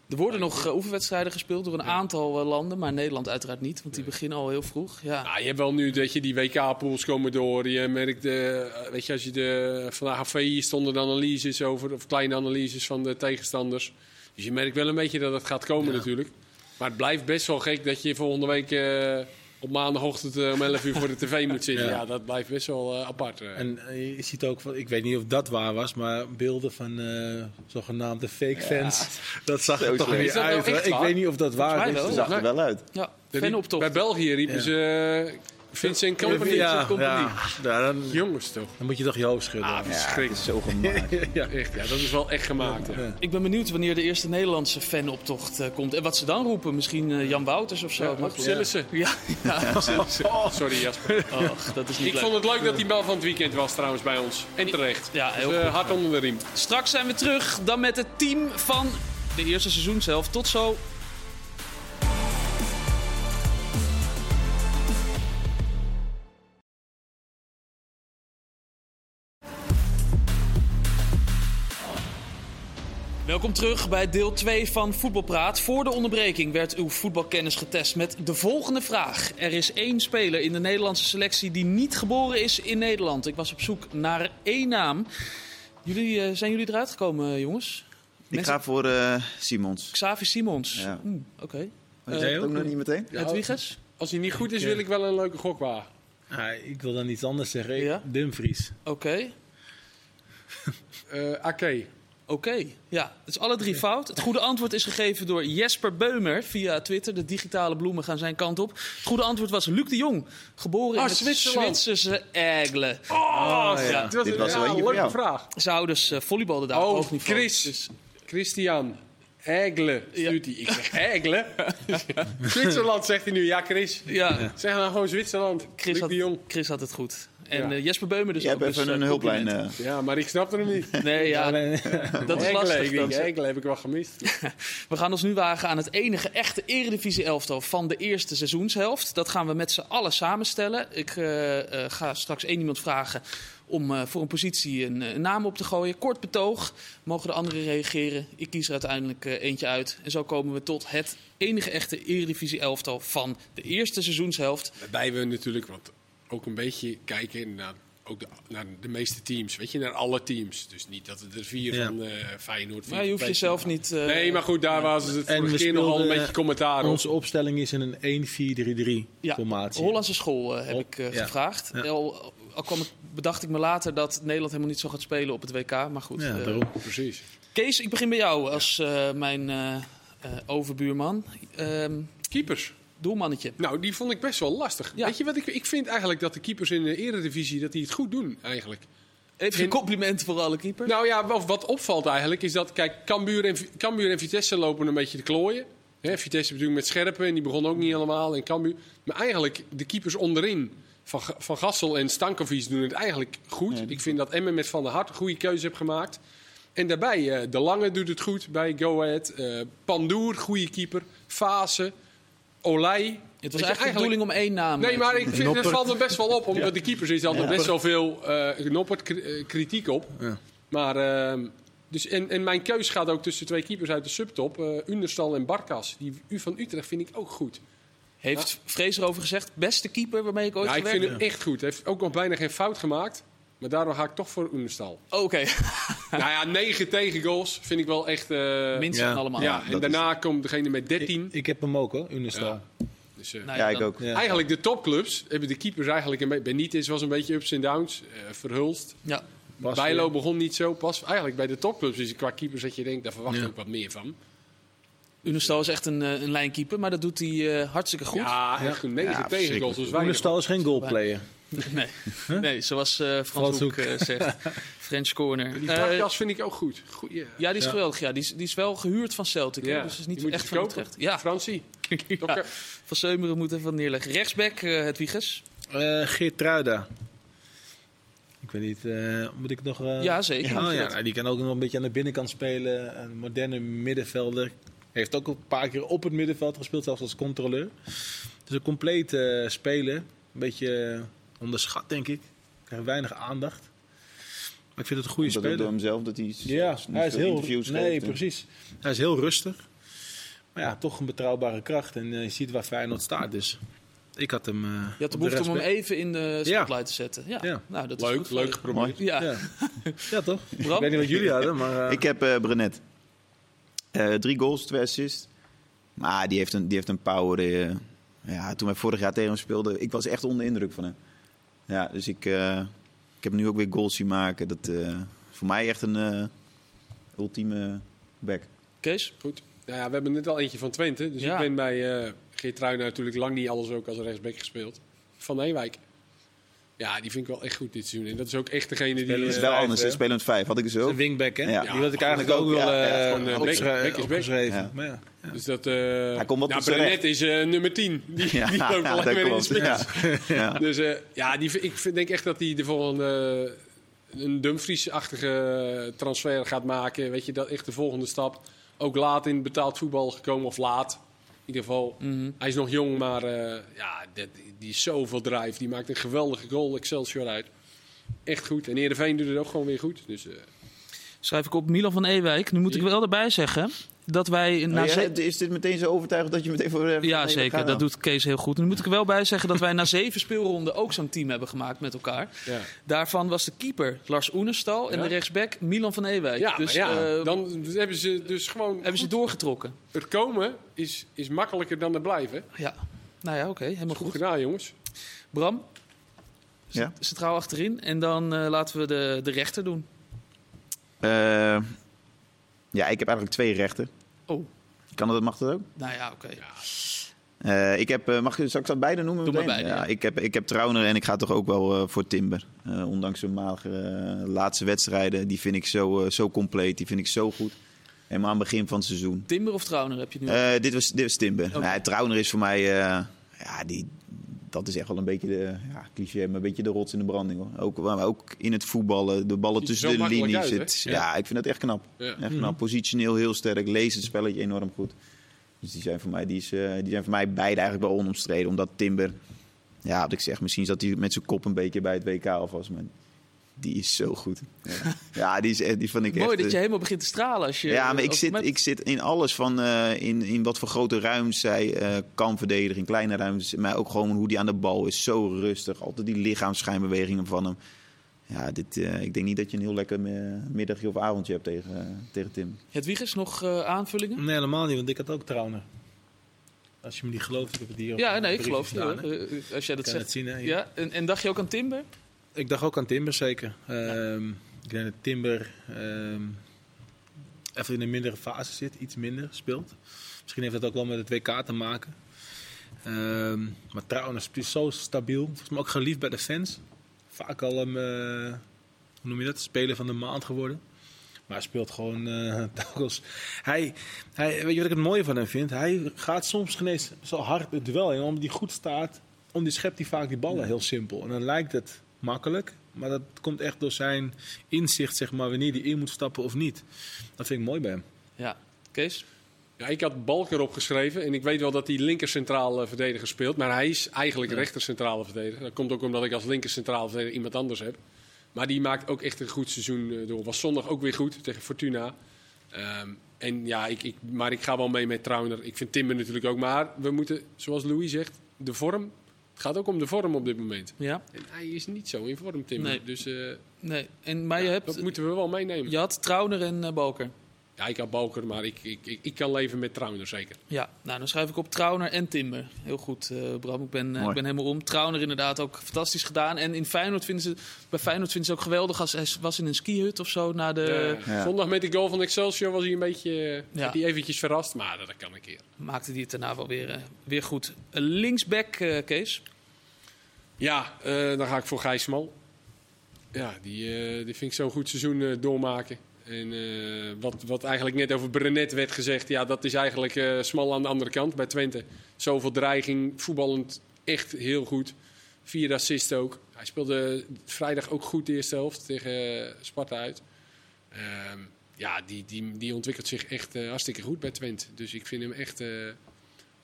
Speaker 1: er worden nog eh, oefenwedstrijden gespeeld door een
Speaker 3: Ja.
Speaker 1: aantal eh, landen, maar Nederland uiteraard niet, want die
Speaker 3: Nee.
Speaker 1: beginnen al heel vroeg. Ja.
Speaker 3: Ah, je hebt wel nu dat je die WK-pools komen door. Je merkt, eh, weet je, als je de, vandaag op VI stonden de analyses over, of kleine analyses van de tegenstanders. Dus je merkt wel een beetje dat het gaat komen natuurlijk. Maar het blijft best wel gek dat je volgende week eh, op maandagochtend eh, om 11 uur voor de tv moet zitten. Ja,
Speaker 4: Ja.
Speaker 3: dat blijft best wel eh, apart. eh.
Speaker 4: En eh, je ziet ook, van- ik weet niet of dat waar was, maar beelden van eh, zogenaamde fake fans. Dat zag
Speaker 2: Zo
Speaker 4: er toch
Speaker 2: slecht.
Speaker 1: Is
Speaker 4: weer
Speaker 1: dat nou
Speaker 4: uit.
Speaker 1: echt
Speaker 4: hè? Ik
Speaker 1: waar?
Speaker 4: weet niet of dat waar
Speaker 1: mij
Speaker 4: is.
Speaker 1: wel.
Speaker 2: het
Speaker 4: Dus-
Speaker 2: zag er wel uit.
Speaker 1: Ja,
Speaker 3: Er
Speaker 1: fan
Speaker 3: liep- bij
Speaker 1: optocht.
Speaker 3: België riepen
Speaker 4: Ja.
Speaker 3: ze eh, Vincent Company.
Speaker 4: Ja,
Speaker 3: Company.
Speaker 4: ja. Ja, dan,
Speaker 3: Jongens toch.
Speaker 4: dan moet je toch je hoofd schudden.
Speaker 3: Ah,
Speaker 2: Ja, het is zo gemaakt.
Speaker 4: ja.
Speaker 3: Echt, ja, dat is wel echt gemaakt. Ja.
Speaker 1: Ik ben benieuwd wanneer de eerste Nederlandse fanoptocht eh, komt. En wat ze dan roepen, misschien eh, Jan Wouters of zo.
Speaker 3: Ja,
Speaker 1: mag
Speaker 3: op Sillissen.
Speaker 1: Ja, ja.
Speaker 4: Oh.
Speaker 3: Sorry Jasper.
Speaker 1: Och, dat is niet
Speaker 3: Ik
Speaker 1: leuk.
Speaker 3: vond het leuk dat die bel van het weekend was trouwens bij ons. En terecht.
Speaker 1: Ja, heel
Speaker 3: Dus, eh,
Speaker 1: goed.
Speaker 3: hard onder de riem.
Speaker 1: Straks zijn we terug, dan met het team van de eerste seizoenshelft. Tot zo. Welkom terug bij deel 2 van Voetbalpraat. Voor de onderbreking werd uw voetbalkennis getest met de volgende vraag. Er is één speler in de Nederlandse selectie die niet geboren is in Nederland. Ik was op zoek naar één naam. Jullie, eh, zijn jullie eruit gekomen, eh, jongens?
Speaker 2: Ik ga voor eh, Simons.
Speaker 1: Xavi Simons.
Speaker 2: Ja.
Speaker 1: Oeh, Oké.
Speaker 2: Oh, je zegt het ook nog niet meteen?
Speaker 1: Rodriguez?
Speaker 3: Als hij niet goed is,
Speaker 4: Ja.
Speaker 3: wil ik wel een leuke gok wagen.
Speaker 4: Ah, ik wil dan iets anders zeggen. Ik-
Speaker 1: Ja?
Speaker 4: Dumfries.
Speaker 1: Oké.
Speaker 3: Eh Ake.
Speaker 1: Oké, ja, het is alle drie fout. Het goede antwoord is gegeven door Jesper Beumer via Twitter. De digitale bloemen gaan zijn kant op. Het goede antwoord was Luc de Jong, geboren
Speaker 3: Ah,
Speaker 1: in het
Speaker 3: Zwitserland.
Speaker 1: Zwitserse Aigle.
Speaker 3: Oh,
Speaker 1: ja.
Speaker 3: dit was,
Speaker 2: Dit was
Speaker 3: ja,
Speaker 2: wel eentje
Speaker 3: een
Speaker 2: voor
Speaker 3: leuke
Speaker 2: jou.
Speaker 3: vraag.
Speaker 1: Zijn ouders eh, volleybalden daar op
Speaker 3: Oh,
Speaker 1: hoog niveau.
Speaker 3: Chris.
Speaker 1: Dus,
Speaker 3: Christian. Egle stuurt hij. Ik zeg Egle. Zwitserland zegt hij nu. Ja, Chris.
Speaker 1: ja,
Speaker 3: Zeg nou gewoon Zwitserland.
Speaker 1: Chris,
Speaker 3: Luc
Speaker 1: had,
Speaker 3: de Jong.
Speaker 1: Chris had het goed. En
Speaker 3: Ja.
Speaker 1: eh, Jesper Beumer dus
Speaker 2: Je
Speaker 1: ook.
Speaker 2: hebt
Speaker 1: dus,
Speaker 2: even
Speaker 1: eh,
Speaker 2: een hulplijn.
Speaker 1: compliment.
Speaker 2: eh.
Speaker 3: Ja, maar ik snapte hem niet.
Speaker 1: Nee, ja, dat is
Speaker 3: Egle,
Speaker 1: lastig.
Speaker 3: ik denk,
Speaker 1: dat.
Speaker 3: Egle heb ik wel gemist.
Speaker 1: We gaan ons nu wagen aan het enige echte eredivisie-elftal van de eerste seizoenshelft. Dat gaan we met z'n allen samenstellen. Ik eh, eh, ga straks één iemand vragen om eh, voor een positie een, eh, een naam op te gooien. Kort betoog, mogen de anderen reageren. Ik kies er uiteindelijk eh, eentje uit. En zo komen we tot het enige echte eredivisie-elftal van de eerste seizoenshelft.
Speaker 3: Waarbij we natuurlijk want ook een beetje kijken naar, ook de, naar de meeste teams. Weet je, naar alle teams. Dus niet dat het er vier
Speaker 4: Ja.
Speaker 3: van eh Feyenoord... vier
Speaker 1: Maar je
Speaker 3: van
Speaker 1: hoeft
Speaker 3: PSV.
Speaker 1: jezelf niet... eh,
Speaker 3: Nee, maar goed, daar was het
Speaker 4: En
Speaker 3: vorige
Speaker 4: we
Speaker 3: keer nogal een
Speaker 4: speelden,
Speaker 3: beetje commentaar op.
Speaker 4: Onze opstelling is in een 1-4-3-3
Speaker 1: Ja,
Speaker 4: formatie.
Speaker 1: Hollandse school eh, heb
Speaker 4: Hol-
Speaker 1: ik eh,
Speaker 4: ja.
Speaker 1: gevraagd.
Speaker 4: Ja.
Speaker 1: Al, al kwam ik, bedacht ik me later dat Nederland helemaal niet zo gaat spelen op het WK. Maar goed,
Speaker 4: Ja,
Speaker 1: eh,
Speaker 4: daarom.
Speaker 3: Precies.
Speaker 1: Kees, ik begin bij jou als eh, mijn eh, eh, overbuurman. Ehm,
Speaker 3: Keepers.
Speaker 1: doelmannetje.
Speaker 3: Nou, die vond ik best wel lastig.
Speaker 1: Ja.
Speaker 3: Weet je wat ik... Ik vind eigenlijk dat de keepers in de eredivisie dat die het goed doen, eigenlijk.
Speaker 1: Even een compliment voor alle keepers.
Speaker 3: Nou ja, wat, wat opvalt eigenlijk is dat... Kijk, Cambuur en, Vi- Cambuur en Vitesse lopen een beetje te klooien. Hè, Vitesse natuurlijk met Scherpen en die begon ook niet helemaal. En Cambuur... Maar eigenlijk, de keepers onderin Van, Ga- van Gassel en Stankovic doen het eigenlijk goed. ik vind dat Emmen met Van der Hart een goede keuze heeft gemaakt. En daarbij, eh, De Lange doet het goed bij Go Ahead. Eh, Pandoer, goede keeper. Fase. Olij.
Speaker 1: Het
Speaker 3: Weet
Speaker 1: was
Speaker 3: je,
Speaker 1: eigenlijk de bedoeling om één naam.
Speaker 3: Nee,
Speaker 1: eh,
Speaker 3: maar ik vind, het
Speaker 4: Noppert.
Speaker 3: valt er best wel op. Omdat de keepers is altijd best wel veel eh Noppert kri- eh, kritiek op.
Speaker 4: Ja.
Speaker 3: Maar, ehm, dus, en, en mijn keus gaat ook tussen twee keepers uit de subtop. eh Understal en Barkas. Die U van Utrecht vind ik ook goed.
Speaker 1: Heeft Vrees erover gezegd, beste keeper waarmee ik ooit
Speaker 3: Ja, ik
Speaker 1: gewerkt
Speaker 3: vind
Speaker 1: heb?
Speaker 3: hem echt goed. Hij heeft ook nog bijna geen fout gemaakt. Maar daardoor ga ik toch voor Understal.
Speaker 1: Oh, Oké,
Speaker 3: nou ja, 9 tegengoals vind ik wel echt... eh,
Speaker 1: minstens
Speaker 4: Ja.
Speaker 1: allemaal.
Speaker 3: ja, en
Speaker 2: dat is-
Speaker 3: daarna komt degene met 13.
Speaker 4: Ik, ik heb hem ook hoor, Unistal.
Speaker 3: dus, eh,
Speaker 1: Nou
Speaker 2: Ja, ik
Speaker 1: dan-
Speaker 2: ook.
Speaker 4: Ja.
Speaker 3: Eigenlijk de topclubs hebben de keepers eigenlijk een beetje... Benitez was een beetje ups en downs. eh verhulst.
Speaker 1: Ja.
Speaker 4: Bas
Speaker 3: Bijlo
Speaker 4: weer.
Speaker 3: begon niet zo pas. Eigenlijk bij de topclubs is het qua keepers dat je denkt, daar verwacht ik
Speaker 4: Ja.
Speaker 3: ook wat meer van.
Speaker 1: Unestal is echt een, eh, een lijnkeeper, maar dat doet hij eh, hartstikke goed.
Speaker 3: Ja, echt goed. Negen
Speaker 2: Ja,
Speaker 3: tegengoals. Dus wij
Speaker 4: Unistal is geen goalplayer.
Speaker 1: Nee. nee, zoals eh, Frans
Speaker 4: Frans
Speaker 1: Hoek
Speaker 4: Hoek.
Speaker 1: eh, zegt. French corner.
Speaker 3: Die
Speaker 1: Eh,
Speaker 3: Barkas vind ik ook goed. Goeie.
Speaker 1: ja, die is
Speaker 4: Ja.
Speaker 1: geweldig. Ja, die, is, die is wel gehuurd van Celtic. hè,
Speaker 3: Ja,
Speaker 1: Dus het is
Speaker 3: die
Speaker 1: niet
Speaker 3: moet je
Speaker 1: echt van
Speaker 3: verkopen.
Speaker 1: Utrecht. Ja,
Speaker 3: Fransie.
Speaker 1: ja. Van Seumeren moet even wat neerleggen. Rechtsback, eh het Wiegers.
Speaker 4: Eh Geert Truida. Ik weet niet, eh, moet ik nog... eh,
Speaker 1: Ja, zeker.
Speaker 4: Oh, ja, nou, die kan ook nog een beetje aan de binnenkant spelen. Een moderne middenvelder. Heeft ook een paar keer op het middenveld gespeeld, zelfs als controleur. Dus een compleet eh, speler. Een beetje eh, onderschat, denk ik. Krijgt weinig aandacht. Maar ik vind het een goede
Speaker 2: Dat ook
Speaker 4: speler.
Speaker 2: door hemzelf dat hij s-
Speaker 4: Ja,
Speaker 2: niet
Speaker 4: hij is
Speaker 2: veel
Speaker 4: heel,
Speaker 2: interviews
Speaker 4: nee,
Speaker 2: geeft.
Speaker 4: precies. Hij is heel rustig. Maar ja, toch een betrouwbare kracht. En eh, je ziet waar Feyenoord staat. Dus ik had hem... eh,
Speaker 1: Je had de
Speaker 4: op
Speaker 1: behoefte om hem
Speaker 4: rechtsback-
Speaker 1: even in de spotlight te zetten. Ja,
Speaker 4: Ja.
Speaker 1: Nou, dat is
Speaker 3: Leuk,
Speaker 1: goed.
Speaker 3: leuk geprobeerd.
Speaker 2: Mooi.
Speaker 1: Ja.
Speaker 4: Ja. ja, toch?
Speaker 1: Bram?
Speaker 4: Ik weet niet wat jullie hadden, maar... eh,
Speaker 2: Ik heb eh Brenet. Eh, drie goals, twee assists. Maar die heeft een, die heeft een power. eh, ja, toen wij vorig jaar tegen hem speelden, ik was echt onder de indruk van hem. Ja, dus ik, eh, ik heb nu ook weer goals zien maken. Dat eh, voor mij echt een eh, ultieme back.
Speaker 1: Kees?
Speaker 3: Goed. Nou ja, we hebben net al eentje van Twente. Dus
Speaker 1: Ja.
Speaker 3: ik ben bij eh, Geert Ruijnen natuurlijk lang niet alles ook als rechtsback gespeeld. Van Ewijk. Ja, die vind ik wel echt goed dit seizoen. En dat is ook echt degene die...
Speaker 4: Spelen
Speaker 2: Het is
Speaker 3: eh,
Speaker 2: wel
Speaker 4: vijf,
Speaker 2: anders,
Speaker 4: hè?
Speaker 2: hè? spelend vijf had ik er zo.
Speaker 4: Een wingback, hè?
Speaker 2: Ja.
Speaker 4: Die had ik eigenlijk
Speaker 2: Ja,
Speaker 4: ook wel
Speaker 2: ja, ja,
Speaker 4: eh,
Speaker 2: gewoon,
Speaker 3: eh,
Speaker 4: opgeschre-
Speaker 3: back is back.
Speaker 4: opgeschreven.
Speaker 2: Ja.
Speaker 4: Maar ja. ja.
Speaker 3: Dus dat... eh
Speaker 2: Hij komt wel
Speaker 3: nou,
Speaker 2: tot zijn
Speaker 3: Brenet is eh, nummer 10. Die,
Speaker 2: Ja,
Speaker 3: die loopt al
Speaker 2: dat
Speaker 3: weer in de
Speaker 2: klopt.
Speaker 3: spits.
Speaker 2: Ja. Ja.
Speaker 3: Dus eh, ja, die, vind- ik vind, denk echt dat hij de volgende eh, een Dumfries-achtige transfer gaat maken. Weet je, dat echt de volgende stap. Ook laat in betaald voetbal gekomen, of laat. In ieder geval,
Speaker 1: Mhm.
Speaker 3: hij is nog jong, maar eh, ja, dat- die is zoveel drive. Die maakt een geweldige goal Excelsior uit. Echt goed. En Heerenveen doet het ook gewoon weer goed. Dus, eh,
Speaker 1: Schrijf ik op Milan van Ewijk. Nu moet ik wel erbij zeggen dat wij... Na
Speaker 4: Nou,
Speaker 2: Maar jij-
Speaker 1: ze-
Speaker 2: is dit meteen zo overtuigend dat je meteen voor... eh,
Speaker 1: Ja,
Speaker 2: nee,
Speaker 1: zeker.
Speaker 2: gaan
Speaker 1: Dat
Speaker 2: we.
Speaker 1: doet Kees heel goed. En nu moet ik er wel bij zeggen dat wij na zeven speelronden ook zo'n team hebben gemaakt met elkaar.
Speaker 3: ja,
Speaker 1: Daarvan was de keeper Lars Oenestal en
Speaker 3: Ja.
Speaker 1: de rechtsback Milan van Ewijk.
Speaker 3: ja,
Speaker 1: dus
Speaker 3: maar ja
Speaker 1: eh,
Speaker 3: dan hebben ze dus gewoon...
Speaker 1: hebben ze doorgetrokken.
Speaker 3: Het komen is, is makkelijker dan het blijven.
Speaker 1: Ja. Nou ja, oké. helemaal
Speaker 3: Goed
Speaker 1: goed.
Speaker 3: gedaan, jongens.
Speaker 1: Bram,
Speaker 2: Ja.
Speaker 1: centraal achterin. En dan eh, laten we de, de rechter doen.
Speaker 2: Eh, ja, ik heb eigenlijk twee rechten.
Speaker 1: Oh.
Speaker 2: Kan dat, mag dat ook?
Speaker 1: Nou ja, oké.
Speaker 2: Eh, ik heb, eh, mag ik, zal ik dat beide noemen?
Speaker 1: Doe maar
Speaker 2: meteen?
Speaker 1: beide,
Speaker 2: ja,
Speaker 1: ja.
Speaker 2: Ik, heb, ik heb Trauner en ik ga toch ook wel eh, voor Timber. Eh, ondanks zijn magere eh, laatste wedstrijden. Die vind ik zo, eh, zo compleet. Die vind ik zo goed. Helemaal aan het begin van het seizoen.
Speaker 1: Timber of Trauner heb je nu?
Speaker 2: Eh, dit, was, dit was Timber. Ja, Trauner is voor mij... eh, ja, die, dat is echt wel een beetje de... Ja, cliché, maar een beetje de rots in de branding. Hoor. Ook, maar ook in het voetballen. De ballen
Speaker 3: Ziet er
Speaker 2: tussen
Speaker 3: zo
Speaker 2: de
Speaker 3: makkelijk
Speaker 2: linies.
Speaker 3: uit,
Speaker 2: Het-
Speaker 3: hè?
Speaker 2: ja. ik vind dat echt knap.
Speaker 3: Ja.
Speaker 2: Echt
Speaker 1: Mhm.
Speaker 2: knap. Positioneel heel sterk. Leest het spelletje enorm goed. Dus die zijn voor mij, die is, eh, die zijn voor mij beide eigenlijk wel onomstreden. Omdat Timber... Ja, wat ik zeg, misschien zat hij met zijn kop een beetje bij het WK alvast. Maar die is zo goed. Ja, ja die, is, echt- die vond ik echt...
Speaker 1: Mooi
Speaker 2: eh,
Speaker 1: dat je helemaal begint te stralen. Als je, eh,
Speaker 2: ja, maar ik
Speaker 1: als-
Speaker 2: zit,
Speaker 1: met-
Speaker 2: ik zit in alles van eh, in, in wat voor grote ruimtes zij eh, kan verdedigen, in kleine ruimtes. Maar ook gewoon hoe die aan de bal is. Zo rustig. Altijd die lichaamsschijnbewegingen van hem. Ja, dit, eh, ik denk niet dat je een heel lekker mi- middagje of avondje hebt tegen, eh, tegen Tim.
Speaker 1: Het Wiegers, nog eh, aanvullingen?
Speaker 4: Nee, helemaal niet, want ik had ook Trauner. Als je me niet gelooft, ik heb het hier op
Speaker 1: Ja,
Speaker 4: een
Speaker 1: nee, ik
Speaker 4: briefje
Speaker 1: geloof je.
Speaker 4: staan,
Speaker 1: hoor.
Speaker 4: hè.
Speaker 1: Eh, eh, als jij dat
Speaker 4: kan
Speaker 1: zegt.
Speaker 4: het zien, hè, hier.
Speaker 1: Ja, en, en dacht je ook aan Timber?
Speaker 4: Ik dacht ook aan Timber, zeker. Ehm, Ik denk dat Timber ehm, even in een mindere fase zit, iets minder speelt. Misschien heeft dat ook wel met het WK te maken. Ehm, maar Trauner is zo stabiel. Volgens mij ook geliefd bij de fans. Vaak al een, eh, hoe noem je dat, speler van de maand geworden. Maar hij speelt gewoon eh dagelijks. Hij, hij, weet je wat ik het mooie van hem vind? Hij gaat soms geen eens zo hard het duel in, omdat hij goed staat. om die schept hij vaak die ballen heel simpel. En dan lijkt het makkelijk, maar dat komt echt door zijn inzicht, zeg maar, wanneer hij in moet stappen of niet. Dat vind ik mooi bij hem.
Speaker 1: Ja, Kees?
Speaker 3: Ja, ik had Balker opgeschreven en ik weet wel dat hij linker centrale verdediger speelt. Maar hij is eigenlijk rechter centrale verdediger. Dat komt ook omdat ik als linker centrale verdediger iemand anders heb. Maar die maakt ook echt een goed seizoen eh, door. Was zondag ook weer goed tegen Fortuna. Ehm, en ja, ik, ik, maar ik ga wel mee met Trauner. Ik vind Timber natuurlijk ook. Maar we moeten, zoals Louis zegt, de vorm. Het gaat ook om de vorm op dit moment.
Speaker 1: Ja.
Speaker 3: En hij is niet zo in vorm, Timber.
Speaker 1: Nee.
Speaker 3: Dus eh,
Speaker 1: Nee, en, maar je,
Speaker 3: ja,
Speaker 1: hebt,
Speaker 3: dat moeten we wel meenemen.
Speaker 1: je
Speaker 3: Ja,
Speaker 1: had Trauner en eh, Balker.
Speaker 3: ik had Balker, maar ik, ik, ik, ik kan leven met Trauner zeker.
Speaker 1: Ja, nou dan schrijf ik op Trauner en Timber. Heel goed, eh, Bram. Ik ben, eh,
Speaker 2: Mooi.
Speaker 1: ik ben helemaal om. Trauner inderdaad ook fantastisch gedaan. En in Feyenoord vinden ze, bij Feyenoord vinden ze ook geweldig als hij was in een skihut of zo. Na de,
Speaker 3: Ja. Zondag met die goal van Excelsior was hij een beetje eh,
Speaker 1: Ja.
Speaker 3: die eventjes verrast, maar dat kan een keer.
Speaker 1: Maakte die het daarna wel weer, eh, weer goed. Eh, linksback, eh, Kees.
Speaker 3: Ja, eh, dan ga ik voor Gijsmal. Ja, die, eh, die vind ik zo'n goed seizoen eh, doormaken. En eh, wat, wat eigenlijk net over Brenet werd gezegd, ja, dat is eigenlijk eh, smal aan de andere kant bij Twente. Zoveel dreiging, voetballend echt heel goed. Vier assists ook. Hij speelde vrijdag ook goed de eerste helft tegen eh, Sparta uit. Ehm, ja, die, die, die ontwikkelt zich echt eh, hartstikke goed bij Twente. Dus ik vind hem echt eh,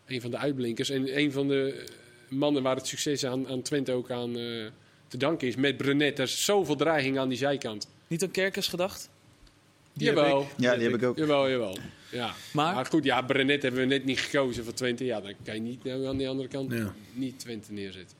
Speaker 3: een van de uitblinkers. En een van de mannen waar het succes aan, aan Twente ook aan eh, te danken is. Met Brunet, er is zoveel dreiging aan die zijkant.
Speaker 1: Niet aan Kerkers gedacht.
Speaker 4: Die heb
Speaker 3: jawel.
Speaker 2: Ja, die heb ik ook.
Speaker 3: Jawel, jawel. Ja.
Speaker 1: Maar?
Speaker 3: Maar? goed, ja, Brunet hebben we net niet gekozen voor Twente. Ja, dan kan je niet nou, aan die andere kant
Speaker 4: Ja.
Speaker 3: niet Twente neerzetten.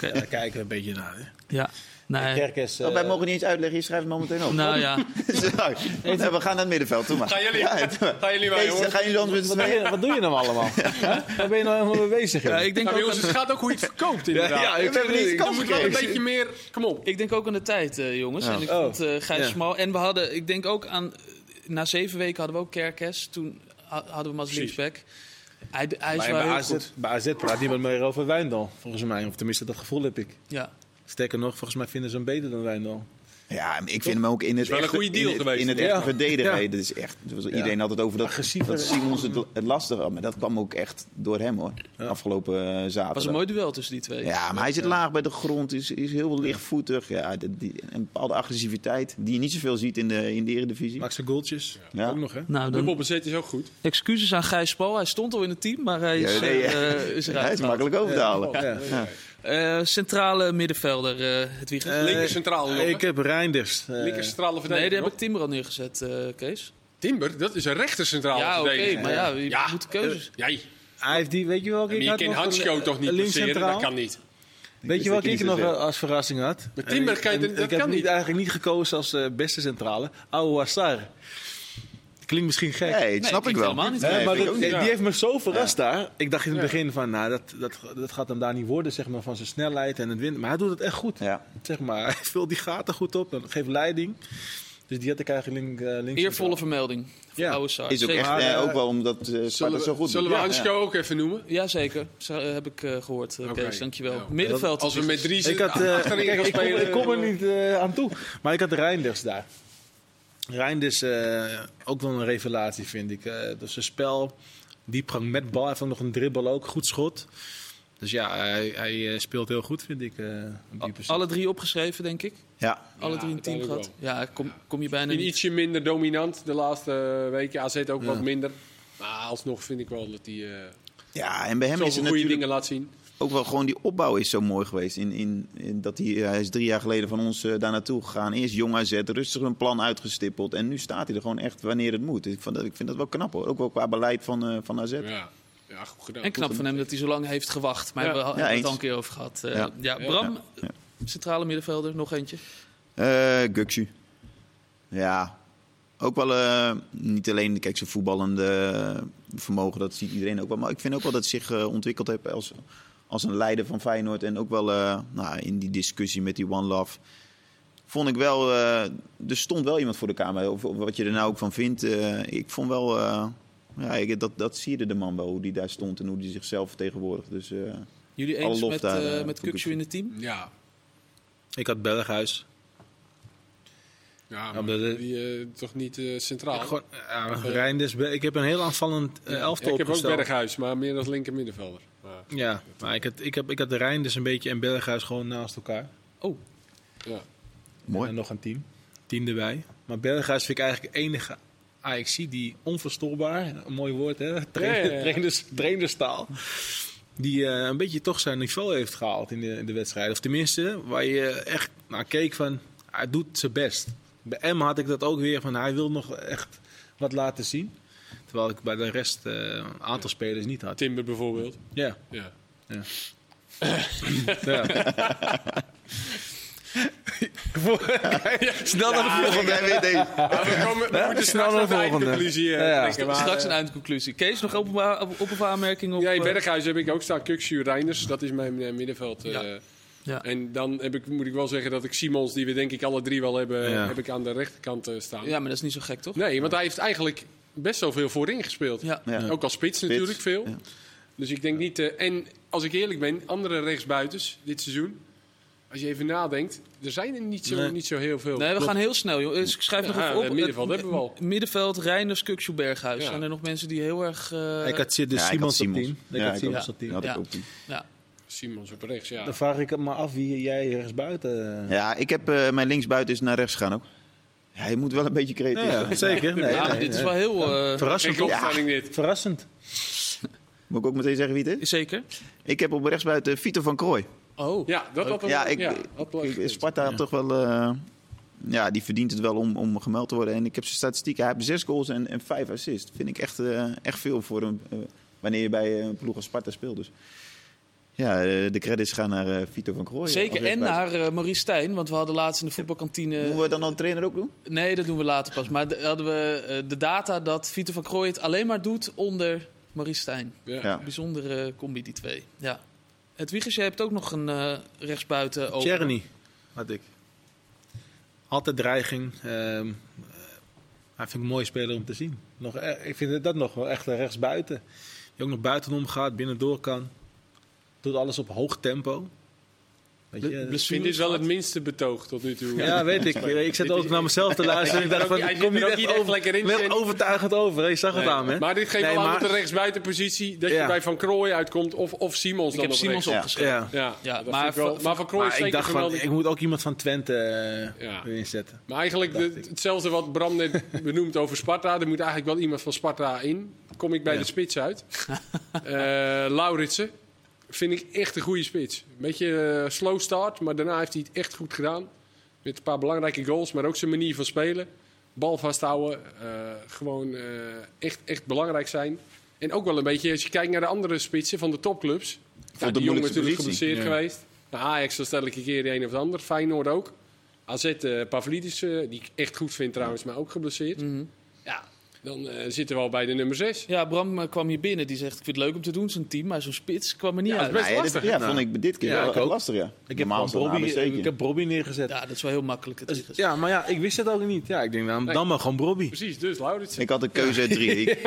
Speaker 4: Ja, daar kijken we een beetje naar. Hè.
Speaker 1: Ja, nee.
Speaker 4: Kerkers,
Speaker 2: Oh, wij mogen niet eens uitleggen, je schrijft het mometeen op.
Speaker 1: Nou ja,
Speaker 2: Zo, nou, we gaan naar het middenveld, toe maar.
Speaker 3: Gaan jullie,
Speaker 2: Ja, het-
Speaker 3: gaan jullie maar,
Speaker 2: Kees,
Speaker 3: jongens.
Speaker 2: gaan jullie anders met z'n
Speaker 4: Wat doe,
Speaker 2: tweeën?
Speaker 4: je, wat doe je nou allemaal? Hè? Waar ben je nou helemaal mee bezig? joh?
Speaker 1: Ja, ik denk
Speaker 3: Nou,
Speaker 1: ook
Speaker 3: jongens, het
Speaker 1: aan-
Speaker 3: gaat ook hoe je het verkoopt inderdaad.
Speaker 4: Ja, ja, ik-
Speaker 2: We hebben niet eens
Speaker 3: Dan
Speaker 2: kans
Speaker 3: moet wel een
Speaker 2: gekregen.
Speaker 3: beetje meer... Kom op.
Speaker 1: Ik denk ook aan de tijd, eh, jongens.
Speaker 2: Ja.
Speaker 1: En ik
Speaker 4: Oh.
Speaker 1: vond eh Gijs
Speaker 4: Ja.
Speaker 1: Smal. En we hadden, ik denk ook aan. eh, Na zeven weken hadden we ook Kerkes. Toen ha- hadden we hem als
Speaker 3: Precies.
Speaker 1: linksback. Hij, hij is
Speaker 4: Maar
Speaker 1: wel
Speaker 4: bij,
Speaker 1: heel
Speaker 4: AZ,
Speaker 1: goed.
Speaker 4: bij AZ praat niemand meer over Wijndal, volgens mij. Of tenminste, dat gevoel heb ik.
Speaker 1: Ja.
Speaker 4: Sterker nog, volgens mij vinden ze hem beter dan Wijndal.
Speaker 2: Ja, maar ik vind hem ook in het
Speaker 3: wel een
Speaker 2: echte-
Speaker 3: goede deal
Speaker 2: in het-
Speaker 3: geweest.
Speaker 2: In het echt
Speaker 4: Ja.
Speaker 2: verdedigen.
Speaker 4: Ja. eh,
Speaker 2: hè, Dat is echt, dat was- iedereen had het over dat,
Speaker 4: Agressiever.
Speaker 2: dat Simons het, het lastig had. Maar dat kwam ook echt door hem hoor. Afgelopen eh, zaterdag.
Speaker 1: was een mooi duel tussen die twee.
Speaker 2: Ja, maar hij zit laag bij de grond, is, is heel lichtvoetig. Ja, de- die, een bepaalde agressiviteit die je niet zoveel ziet in de, in de eredivisie.
Speaker 4: Maakt zijn goaltjes.
Speaker 2: Ja.
Speaker 4: Ook nog, hè?
Speaker 1: Nou,
Speaker 3: De
Speaker 1: dan
Speaker 3: Bobbezet is ook goed.
Speaker 1: excuses aan Gijs Smal. Hij stond al in het team, maar hij is,
Speaker 2: Ja, nee,
Speaker 1: eh,
Speaker 2: ja.
Speaker 1: eh, is eruit
Speaker 2: hij is
Speaker 1: gehaald.
Speaker 2: makkelijk over te halen.
Speaker 4: Ja.
Speaker 1: Eh, centrale middenvelder, eh het
Speaker 4: Eh,
Speaker 3: Linker centraal nog, hè?
Speaker 4: Ik heb Reinders. eh,
Speaker 3: Linker centrale
Speaker 1: Nee,
Speaker 3: verdediger.
Speaker 1: daar heb
Speaker 3: nog.
Speaker 1: ik Timber al neergezet, eh, Kees.
Speaker 3: Timber, dat is een rechter centrale
Speaker 1: ja, oké,
Speaker 3: verdediger.
Speaker 1: maar ja, je
Speaker 3: Ja.
Speaker 1: moet keuzes.
Speaker 3: Jij,
Speaker 4: hij heeft die, weet je welke
Speaker 3: maar
Speaker 4: ik
Speaker 3: je
Speaker 4: had
Speaker 3: kan
Speaker 4: nog?
Speaker 3: Hansko
Speaker 4: Een- eh,
Speaker 3: toch niet
Speaker 4: een links
Speaker 3: passeren?
Speaker 4: centraal?
Speaker 3: Dat kan niet.
Speaker 4: Weet je
Speaker 2: wist dat
Speaker 4: welke
Speaker 2: je
Speaker 4: ik
Speaker 2: niet
Speaker 4: nog
Speaker 2: zo
Speaker 4: eh,
Speaker 2: zei.
Speaker 4: als verrassing had?
Speaker 3: Met Timber
Speaker 4: En-
Speaker 3: kan je
Speaker 4: en
Speaker 3: dit- dat
Speaker 4: Ik heb
Speaker 3: kan
Speaker 4: niet,
Speaker 3: niet.
Speaker 4: eigenlijk niet gekozen als eh, beste centrale. Ouassar. Klinkt misschien gek.
Speaker 2: Nee, dat snap
Speaker 1: Nee,
Speaker 2: ik
Speaker 1: ik
Speaker 2: wel.
Speaker 1: helemaal niet.
Speaker 2: Nee,
Speaker 4: Hè,
Speaker 2: vind
Speaker 4: maar
Speaker 2: ik
Speaker 4: dat-
Speaker 2: ook
Speaker 4: die
Speaker 2: niet.
Speaker 3: Ja.
Speaker 4: heeft me zo verrast daar. Ik dacht in het begin van, nou, dat, dat, dat gaat hem daar niet worden, zeg maar, van zijn snelheid en het wind. Maar hij doet het echt goed.
Speaker 2: Ja.
Speaker 4: Zeg maar, hij vult die gaten goed op, dat geeft leiding. Dus die had ik eigenlijk link, eh, links.
Speaker 1: Eervolle vermelding. voor
Speaker 4: Ja.
Speaker 1: oude Sar.
Speaker 2: Is ook
Speaker 1: Zeker.
Speaker 2: echt,
Speaker 4: Maar,
Speaker 2: eh,
Speaker 4: eh,
Speaker 2: ook wel omdat eh Sparta
Speaker 3: Zullen we,
Speaker 2: zo goed
Speaker 3: zullen we
Speaker 2: doet. Ja,
Speaker 3: Hansko
Speaker 2: ja.
Speaker 3: ook even noemen?
Speaker 1: Jazeker, Zo, eh, heb ik eh, gehoord. eh,
Speaker 3: Oké.
Speaker 1: Kees, dankjewel.
Speaker 3: Ja.
Speaker 1: Middenveld. dus
Speaker 3: Als we met drie
Speaker 4: Ik, had, eh,
Speaker 3: achterin
Speaker 4: kijk,
Speaker 3: gaan
Speaker 4: ik, kom,
Speaker 3: spelen,
Speaker 4: ik kom er niet eh, aan toe. Maar ik had Reinders daar. Reinders, eh, ook wel een revelatie, vind ik. Eh dat is een spel, diepgang met bal. Hij heeft ook nog een dribbel ook, goed schot. Dus ja, hij, hij eh, speelt heel goed, vind ik. eh, op die positie.
Speaker 1: Alle drie opgeschreven, denk ik.
Speaker 2: Ja,
Speaker 1: Alle
Speaker 3: Ja,
Speaker 1: drie een team gehad.
Speaker 3: uiteindelijk
Speaker 1: Ja, kom, kom je bijna
Speaker 3: in
Speaker 1: niet.
Speaker 3: ietsje minder dominant de laatste eh, weken. AZ ook wat minder. Maar alsnog vind ik wel dat hij eh
Speaker 2: ja, en bij hem is
Speaker 3: zoveel
Speaker 2: het
Speaker 3: goede
Speaker 2: natuurlijk
Speaker 3: dingen laat zien.
Speaker 2: ook wel gewoon die opbouw is zo mooi geweest. In, in, in dat hij, hij is drie jaar geleden van ons eh, daar naartoe gegaan. Eerst jong AZ, rustig een plan uitgestippeld. En nu staat hij er gewoon echt wanneer het moet. Ik, vond dat, ik vind dat wel knap hoor. Ook wel qua beleid van, eh, van AZ.
Speaker 3: Ja, ja goed gedaan.
Speaker 1: En knap van hem dat hij zo lang heeft gewacht. Maar
Speaker 3: Ja.
Speaker 1: we hebben
Speaker 2: Ja,
Speaker 1: we het
Speaker 2: eens.
Speaker 1: al een keer over gehad. Eh, ja.
Speaker 2: Ja.
Speaker 1: Bram,
Speaker 2: Ja.
Speaker 1: centrale middenvelder, nog eentje.
Speaker 2: Eh Guxu. Ja. Ook wel eh, niet alleen kijk, zijn voetballende vermogen, dat ziet iedereen ook wel. Maar ik vind ook wel dat hij zich eh, ontwikkeld heeft als, als een leider van Feyenoord. En ook wel eh, nou, in die discussie met die One Love. Vond ik wel, eh, er stond wel iemand voor de camera. Of, of wat je er nou ook van vindt. eh, ik vond wel, eh, ja, ik, dat, dat sierde de man wel, hoe die daar stond en hoe die zichzelf vertegenwoordigt. Dus eh,
Speaker 1: Jullie
Speaker 2: Alle
Speaker 1: eens
Speaker 2: lof
Speaker 1: met,
Speaker 2: daar,
Speaker 1: eh,
Speaker 2: eh,
Speaker 1: met
Speaker 2: voor
Speaker 1: Kukcu
Speaker 2: Kukcu.
Speaker 1: in het team?
Speaker 3: Ja,
Speaker 4: Ik had Berghuis.
Speaker 3: ja maar
Speaker 4: Ja, maar dat-
Speaker 3: die eh, toch niet eh, centraal.
Speaker 4: Gewoon, ja, Reinders, ik heb een heel aanvallend eh,
Speaker 3: Ja,
Speaker 4: elftal
Speaker 3: ik heb ook
Speaker 4: opgesteld.
Speaker 3: Berghuis, maar meer als linker middenvelder. Maar,
Speaker 4: Ja, maar ik had, ik, heb, ik had de Rijn dus een beetje en Berghuis gewoon naast elkaar.
Speaker 1: Oh,
Speaker 3: Ja.
Speaker 2: Mooi.
Speaker 4: En nog een team. Team erbij. Maar Berghuis vind ik eigenlijk de enige AXC die onverstoorbaar, een mooi woord hè,
Speaker 3: ja, ja.
Speaker 4: trainers, trainerstaal. Die eh, een beetje toch zijn niveau heeft gehaald in de, in de wedstrijd. Of tenminste, waar je echt naar keek van, hij doet zijn best. Bij M had ik dat ook weer van, hij wil nog echt wat laten zien. Terwijl ik bij de rest eh, een aantal spelers niet had.
Speaker 3: Timber bijvoorbeeld.
Speaker 4: Ja,
Speaker 3: Ja.
Speaker 4: ja. Snel naar de
Speaker 2: Ja, ik ben weer deze.
Speaker 3: Maar we komen, we moeten
Speaker 4: snel
Speaker 3: snel naar
Speaker 4: naar de
Speaker 3: de
Speaker 4: volgende.
Speaker 3: conclusie. eh,
Speaker 4: Ja, ja.
Speaker 3: denken, maar,
Speaker 1: straks
Speaker 3: eh,
Speaker 1: een eindconclusie. Kees, nog openbaar, op, op, aanmerking op...
Speaker 3: Ja, in
Speaker 1: eh,
Speaker 3: Berghuis heb ik ook staan. Kukshu Reiners, dat is mijn eh, middenveld. eh.
Speaker 1: Ja. Ja.
Speaker 3: En dan heb ik, moet ik wel zeggen dat ik Simons, die we denk ik alle drie wel hebben,
Speaker 4: Ja.
Speaker 3: heb ik aan de rechterkant eh, staan.
Speaker 1: ja, maar dat is niet zo gek, toch?
Speaker 3: Nee, want hij heeft eigenlijk best wel veel voorin gespeeld.
Speaker 1: Ja.
Speaker 2: Ja.
Speaker 3: Ook als spits
Speaker 2: Spits,
Speaker 3: natuurlijk veel.
Speaker 2: ja.
Speaker 3: Dus ik denk niet... eh, en als ik eerlijk ben, andere rechtsbuitens dit seizoen... Als je even nadenkt, er zijn er niet zo,
Speaker 4: Nee.
Speaker 3: niet zo heel veel.
Speaker 1: Nee, we gaan heel snel, joh. Dus Ik schrijf nog
Speaker 3: Ja,
Speaker 1: even op.
Speaker 3: het middenveld hebben we al.
Speaker 1: Middenveld, Reiners, Kukshoe, Berghuis.
Speaker 3: Ja.
Speaker 1: Zijn er nog mensen die heel erg... eh,
Speaker 4: ik had zit dus
Speaker 2: Ja, ik had
Speaker 4: Simons op 10. Ik
Speaker 2: Ja,
Speaker 4: had
Speaker 2: ik
Speaker 4: Simons
Speaker 1: ook.
Speaker 4: op 10.
Speaker 2: Had ik
Speaker 1: Ja.
Speaker 2: ook tien.
Speaker 1: ja.
Speaker 3: Simons op rechts, ja.
Speaker 4: Dan vraag ik het maar af wie jij rechtsbuiten...
Speaker 2: Ja, ik heb eh, mijn linksbuiten is naar rechts gegaan ook. Ja, je moet wel een beetje creatief
Speaker 4: Ja,
Speaker 2: zijn.
Speaker 4: zeker. Nee,
Speaker 1: Ja,
Speaker 4: nee,
Speaker 1: dit is
Speaker 4: nee.
Speaker 1: wel heel... eh,
Speaker 4: Verrassend,
Speaker 3: Geen
Speaker 4: toch?
Speaker 3: opstelling dit.
Speaker 4: Verrassend.
Speaker 2: Moet ik ook meteen zeggen wie het is?
Speaker 1: zeker.
Speaker 2: Ik heb op rechtsbuiten Vito van Krooi.
Speaker 1: Oh.
Speaker 3: Ja, dat had
Speaker 2: Ja, ik,
Speaker 3: had wel
Speaker 2: ik-
Speaker 3: gekund.
Speaker 2: Sparta had toch wel... eh, ja, die verdient het wel om, om gemeld te worden. En ik heb zijn statistieken. Hij heeft zes goals en, en vijf assists. Vind ik echt, eh, echt veel voor een, eh, wanneer je bij een ploeg als Sparta speelt. Dus ja, eh, de credits gaan naar eh, Vito van Krooi.
Speaker 4: oh
Speaker 1: Zeker,
Speaker 2: als
Speaker 1: en
Speaker 2: rechtsbuiten.
Speaker 1: naar eh, Maurice Stijn, want we hadden laatst in de voetbalkantine...
Speaker 2: Moeten we dan al een trainer ook doen?
Speaker 1: Nee, dat doen we later pas. Maar de- hadden we eh, de data dat Vito van Krooij het alleen maar doet onder Maurice Stijn.
Speaker 3: Ja.
Speaker 2: Ja.
Speaker 1: Bijzondere combi, die twee. Ja. Het Wiegers, jij hebt ook nog een eh, rechtsbuiten
Speaker 3: Oh.
Speaker 1: open.
Speaker 4: Tjerny had ik. Altijd dreiging. ehm, eh, hij vind ik een mooie speler om te zien. Nog, eh, ik vind dat nog wel echt een rechtsbuiten. Die ook nog buitenom gaat, binnendoor kan. Doet alles op hoog tempo. Weet
Speaker 1: Ble-
Speaker 4: je, eh,
Speaker 3: Ik vind dit wel het minste betoog tot nu toe.
Speaker 4: ja, weet ik. Ik zit ook naar mezelf te luisteren. Ik dacht van,
Speaker 3: Hij
Speaker 4: ik
Speaker 3: zit
Speaker 4: kom
Speaker 3: er
Speaker 4: niet
Speaker 3: ook
Speaker 4: echt,
Speaker 3: niet echt
Speaker 4: over-
Speaker 3: lekker in,
Speaker 4: niet echt
Speaker 3: Tjerny.
Speaker 4: overtuigend over. hè. Je zag het
Speaker 3: Nee.
Speaker 4: aan me. hè?
Speaker 3: Maar dit geeft
Speaker 4: Nee,
Speaker 3: wel aan
Speaker 4: maar-
Speaker 3: op de rechtsbuitenpositie dat
Speaker 4: Ja.
Speaker 3: je bij Van Krooij uitkomt of, of Simons
Speaker 1: Ik
Speaker 3: dan
Speaker 1: heb
Speaker 3: op
Speaker 1: Simons
Speaker 3: rechts.
Speaker 1: opgeschreven.
Speaker 4: Ja.
Speaker 3: Ja,
Speaker 1: Ja,
Speaker 3: dat
Speaker 1: maar
Speaker 3: vind ik wel-
Speaker 1: van-
Speaker 3: maar Van Krooij is
Speaker 4: Maar ik
Speaker 3: zeker
Speaker 4: dacht van,
Speaker 3: geweldig.
Speaker 4: ik moet ook iemand van Twente eh,
Speaker 3: Ja.
Speaker 4: erin zetten.
Speaker 3: Maar eigenlijk
Speaker 4: dacht
Speaker 3: de-
Speaker 4: ik.
Speaker 3: hetzelfde wat Bram net benoemd over Sparta. Er moet eigenlijk wel iemand van Sparta in. Kom ik bij de spits uit. Eh Lauritsen vind ik echt een goede spits. Een beetje eh, slow start, maar daarna heeft hij het echt goed gedaan. Met een paar belangrijke goals, maar ook zijn manier van spelen. Bal vasthouden, eh, gewoon eh, echt, echt belangrijk zijn. En ook wel een beetje, als je kijkt naar de andere spitsen van de topclubs. Nou,
Speaker 2: de
Speaker 3: die jongen
Speaker 2: moeilijkste
Speaker 3: natuurlijk
Speaker 2: positie.
Speaker 3: geblesseerd geweest. Nou, Ajax, dan stel ik een keer de een of de ander. Feyenoord ook. AZ eh, Pavlidis, eh, die ik echt goed vind trouwens, maar ook geblesseerd.
Speaker 1: Mhm.
Speaker 3: Ja, dan eh, zitten we al bij de nummer 6.
Speaker 1: Ja, Bram eh, kwam hier binnen. Die zegt, ik vind het leuk om te doen, zo'n team. Maar zo'n spits kwam er niet
Speaker 3: Ja, dat
Speaker 1: uit.
Speaker 3: is best
Speaker 2: Nee, dit-
Speaker 3: lastig.
Speaker 2: ja,
Speaker 4: Nou.
Speaker 2: vond ik dit keer
Speaker 4: Ja,
Speaker 2: wel
Speaker 4: ik
Speaker 2: echt
Speaker 4: ook.
Speaker 2: lastig, ja.
Speaker 4: Ik heb,
Speaker 2: Normaal
Speaker 4: gewoon
Speaker 2: is dat een
Speaker 4: Bobby, eh,
Speaker 2: ABC'tje.
Speaker 4: ik heb Bobby neergezet.
Speaker 1: Ja, dat is wel heel makkelijk. Het
Speaker 4: Dus-
Speaker 1: Wiegers.
Speaker 4: ja, maar ja, ik wist het ook niet. Ja, ik denk, nou,
Speaker 3: Nee.
Speaker 4: dan maar gewoon Bobby.
Speaker 3: Precies, dus Lauritsen.
Speaker 2: Ik had een keuze uit drie. Ik,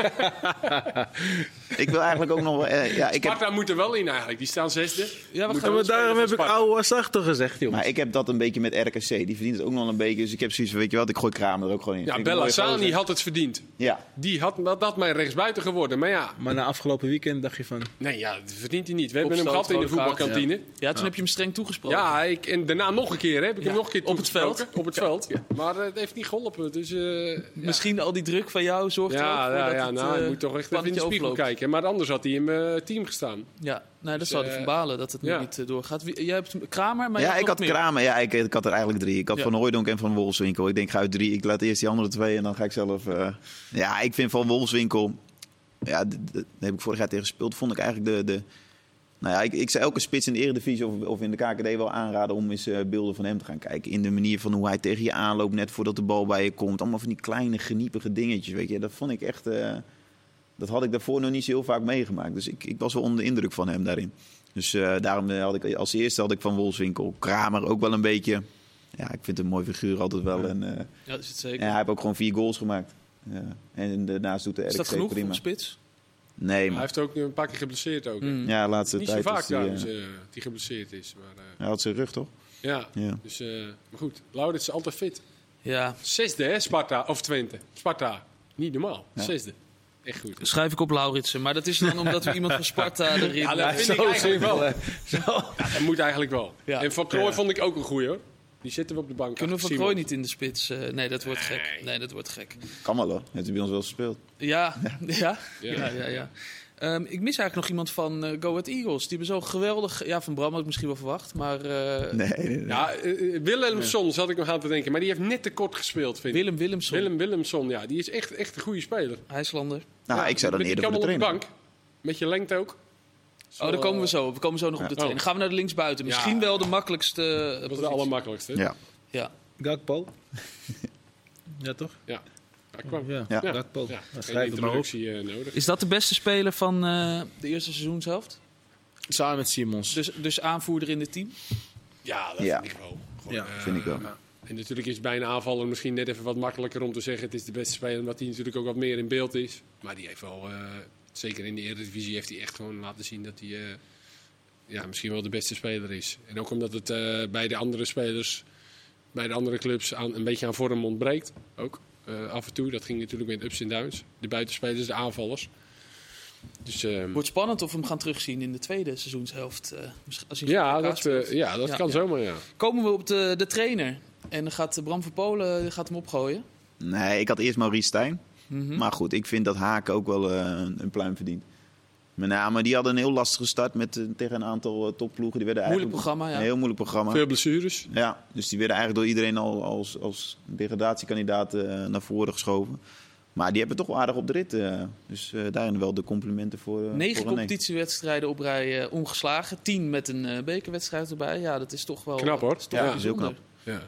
Speaker 2: ik wil eigenlijk ook nog wel. eh, ja, ik heb,
Speaker 3: Sparta moet er wel in eigenlijk, die staan zesde.
Speaker 1: Ja, we
Speaker 3: Moet
Speaker 1: gaan
Speaker 3: wel
Speaker 4: maar
Speaker 3: spelen
Speaker 4: daarom heb
Speaker 3: van
Speaker 4: ik
Speaker 3: Sparta.
Speaker 4: oude was achter gezegd, jongens.
Speaker 2: maar ik heb dat een beetje met RKC. Die verdient het ook nog een beetje. Dus ik heb zoiets van: weet je wat, ik gooi Kramer er ook gewoon in.
Speaker 3: Ja,
Speaker 2: Vind ik een
Speaker 3: Bella
Speaker 2: mooie gozer.
Speaker 3: Sani had het verdiend.
Speaker 2: Ja,
Speaker 3: Die had dat, dat mij rechtsbuiten geworden. Maar ja,
Speaker 4: Maar na afgelopen weekend dacht je van...
Speaker 3: nee, ja, dat verdient hij niet. We hebben hem
Speaker 1: Opstoot,
Speaker 3: gehad in de
Speaker 1: rode kaart,
Speaker 3: voetbalkantine.
Speaker 1: Ja, toen heb je hem streng toegesproken.
Speaker 3: Ja, ik, en daarna nog een keer. hè, Heb ik hem
Speaker 1: Ja,
Speaker 3: nog een keer
Speaker 1: op het veld.
Speaker 3: toegesproken, Op het veld. Maar eh, het heeft niet geholpen. Dus, eh, ja.
Speaker 1: Misschien al die druk van jou zorgt er ook
Speaker 3: Ja,
Speaker 1: voor
Speaker 3: ja,
Speaker 1: dat
Speaker 3: ja
Speaker 1: het,
Speaker 3: nou,
Speaker 1: eh,
Speaker 3: je moet toch echt even in
Speaker 1: plannetje
Speaker 3: de spiegel
Speaker 1: overloopt.
Speaker 3: kijken. Maar anders had hij in mijn team gestaan.
Speaker 1: Ja, nou, nee, dat
Speaker 3: Dus,
Speaker 1: zou er
Speaker 3: eh,
Speaker 1: van balen dat het nu
Speaker 3: ja.
Speaker 1: niet eh, doorgaat. Wie- jij hebt Kramer, maar jij hebt
Speaker 2: ja ik
Speaker 1: nog
Speaker 2: had
Speaker 1: meer.
Speaker 2: Kramer. Ja, ik, ik had er eigenlijk drie. Ik had
Speaker 1: Ja.
Speaker 2: Van Hooijdonk en Van Wolfswinkel. Ik denk, ga uit drie. Ik laat eerst die andere twee en dan ga ik zelf. eh, ja, ik vind Van Wolfswinkel. Ja, d- d- daar heb ik vorig jaar tegen gespeeld. Vond ik eigenlijk de. de nou ja, ik, ik zou elke spits in de Eredivisie of, of in de KKD wel aanraden om eens eh, beelden van hem te gaan kijken. In de manier van hoe hij tegen je aanloopt, net voordat de bal bij je komt. Allemaal van die kleine, geniepige dingetjes, weet je. Dat vond ik echt... eh, dat had ik daarvoor nog niet zo heel vaak meegemaakt. Dus ik, ik was wel onder de indruk van hem daarin. Dus eh, daarom eh, had ik als eerste had ik van Wolfswinkel, Kramer ook wel een beetje... Ja, ik vind hem een mooi figuur altijd wel. En, eh,
Speaker 1: Ja, dat is het zeker.
Speaker 2: en hij heeft ook gewoon vier goals gemaakt. Ja. en daarnaast doet de
Speaker 1: is dat
Speaker 2: RKC
Speaker 1: genoeg voor
Speaker 2: prima.
Speaker 1: een spits?
Speaker 2: Nee,
Speaker 3: Hij
Speaker 2: maar
Speaker 3: heeft ook een paar keer geblesseerd ook. hè.
Speaker 1: Hmm.
Speaker 2: ja, de laatste
Speaker 3: Niet zo
Speaker 2: tijd
Speaker 3: vaak
Speaker 2: was die, eh,
Speaker 3: trouwens, eh, die geblesseerd is. Maar, eh,
Speaker 2: hij had zijn rug, toch?
Speaker 3: ja.
Speaker 2: Ja.
Speaker 3: Dus, eh, maar goed, Laurits is altijd fit.
Speaker 1: Ja,
Speaker 3: Zesde, hè, Sparta of Twente. Sparta, niet normaal.
Speaker 2: Ja.
Speaker 3: Zesde. Echt goed.
Speaker 1: Schrijf ik op Lauritsen. Maar dat is dan omdat we iemand van Sparta erin...
Speaker 3: Ja, dat vind ik
Speaker 4: Zo
Speaker 3: eigenlijk
Speaker 4: simpel.
Speaker 3: wel.
Speaker 4: hè. Zo.
Speaker 3: Ja, dat moet eigenlijk wel.
Speaker 1: Ja.
Speaker 3: En Van Krooi
Speaker 4: Ja.
Speaker 3: vond ik ook een goeie hoor. Die zitten we op de bank.
Speaker 1: Kunnen we
Speaker 3: achter
Speaker 1: Van Krooi
Speaker 3: Simons.
Speaker 1: niet in de spits? eh, nee, dat wordt gek. Nee, dat wordt gek.
Speaker 2: Kan wel hoor. Heeft hij bij ons wel gespeeld.
Speaker 1: Ja, ja,
Speaker 3: Ja.
Speaker 1: ja, ja. ja. Ehm, ik mis eigenlijk nog iemand van eh, Go Ahead Eagles. Die hebben zo geweldig... Ja, van Bram had ik misschien wel verwacht, maar... eh,
Speaker 2: Nee, nee, nee.
Speaker 3: Ja, eh, eh, Willemson zat ik nog aan te denken. Maar die heeft net te kort gespeeld, vind ik.
Speaker 1: Willem Willemson,
Speaker 3: Willem Willemson, ja. Die is echt, echt een goede speler.
Speaker 1: IJslander.
Speaker 2: nou, ik zou dan
Speaker 3: die
Speaker 2: eerder
Speaker 3: kan
Speaker 2: voor de
Speaker 3: wel op
Speaker 2: trainer.
Speaker 3: bank. Met je lengte ook.
Speaker 1: Oh, daar komen we
Speaker 3: eh,
Speaker 1: zo op. We komen zo nog op de
Speaker 2: Ja.
Speaker 1: trainer. Gaan we naar de linksbuiten.
Speaker 3: Oh. Ja.
Speaker 1: Misschien wel de makkelijkste... eh,
Speaker 3: Dat was de
Speaker 1: positie.
Speaker 3: allermakkelijkste.
Speaker 2: Ja.
Speaker 1: Ja.
Speaker 4: Gakpo. Ja, toch?
Speaker 3: Daar kwam.
Speaker 4: Ja,
Speaker 2: Ja.
Speaker 4: Gakpo.
Speaker 3: Ja,
Speaker 4: Ja,
Speaker 3: geen
Speaker 4: Schrijf het maar op.
Speaker 3: introductie eh, nodig.
Speaker 1: Is dat de beste speler van eh, de eerste seizoenshelft?
Speaker 5: Samen met Simons.
Speaker 1: Dus, dus aanvoerder in het team?
Speaker 3: Ja, dat
Speaker 2: Ja.
Speaker 3: vind ik wel. Gewoon,
Speaker 4: Ja,
Speaker 3: eh,
Speaker 2: Vind ik wel.
Speaker 3: En natuurlijk is het bij een aanvaller misschien net even wat makkelijker om te zeggen... het is de beste speler, omdat hij natuurlijk ook wat meer in beeld is. Maar die heeft wel, eh, zeker in de Eredivisie, heeft hij echt gewoon laten zien dat hij... eh, ja, misschien wel de beste speler is. En ook omdat het eh, bij de andere spelers, bij de andere clubs... Aan, een beetje aan vorm ontbreekt, ook eh, af en toe. Dat ging natuurlijk met ups en downs. De buitenspelers, de aanvallers. Dus... ehm,
Speaker 1: Wordt spannend of we hem gaan terugzien in de tweede seizoenshelft. eh, misschien- als hij tegen
Speaker 3: ja,
Speaker 1: elkaar
Speaker 3: dat,
Speaker 1: speelt.
Speaker 3: eh, ja, dat
Speaker 1: Ja.
Speaker 3: kan zomaar, ja.
Speaker 1: Komen we op de, de trainer. En dan gaat eh, Bram van Polen die gaat hem opgooien.
Speaker 2: Nee, ik had eerst Maurice Stijn.
Speaker 1: Mhm. Hm?
Speaker 2: Maar goed, ik vind dat Haken ook wel eh, een, een pluim verdient. Met name, die hadden een heel lastige start met, eh, tegen een aantal eh, topploegen. Die
Speaker 1: Moeilijk
Speaker 2: werden eigenlijk-
Speaker 1: programma, ja.
Speaker 2: Een heel moeilijk programma.
Speaker 3: Veel blessures.
Speaker 2: Ja, dus die werden eigenlijk door iedereen al als, als degradatiekandidaat eh, naar voren geschoven. Maar die hebben toch wel aardig op de rit. eh. dus eh, daarin wel de complimenten voor. eh,
Speaker 1: Negen
Speaker 2: voor René.
Speaker 1: competitiewedstrijden op rij eh, ongeslagen. Tien met een eh, bekerwedstrijd erbij. Ja, dat is toch wel...
Speaker 3: Knap, hoor.
Speaker 1: dat is toch
Speaker 3: Ja,
Speaker 1: wel
Speaker 2: is heel
Speaker 1: bijzonder.
Speaker 3: Ja.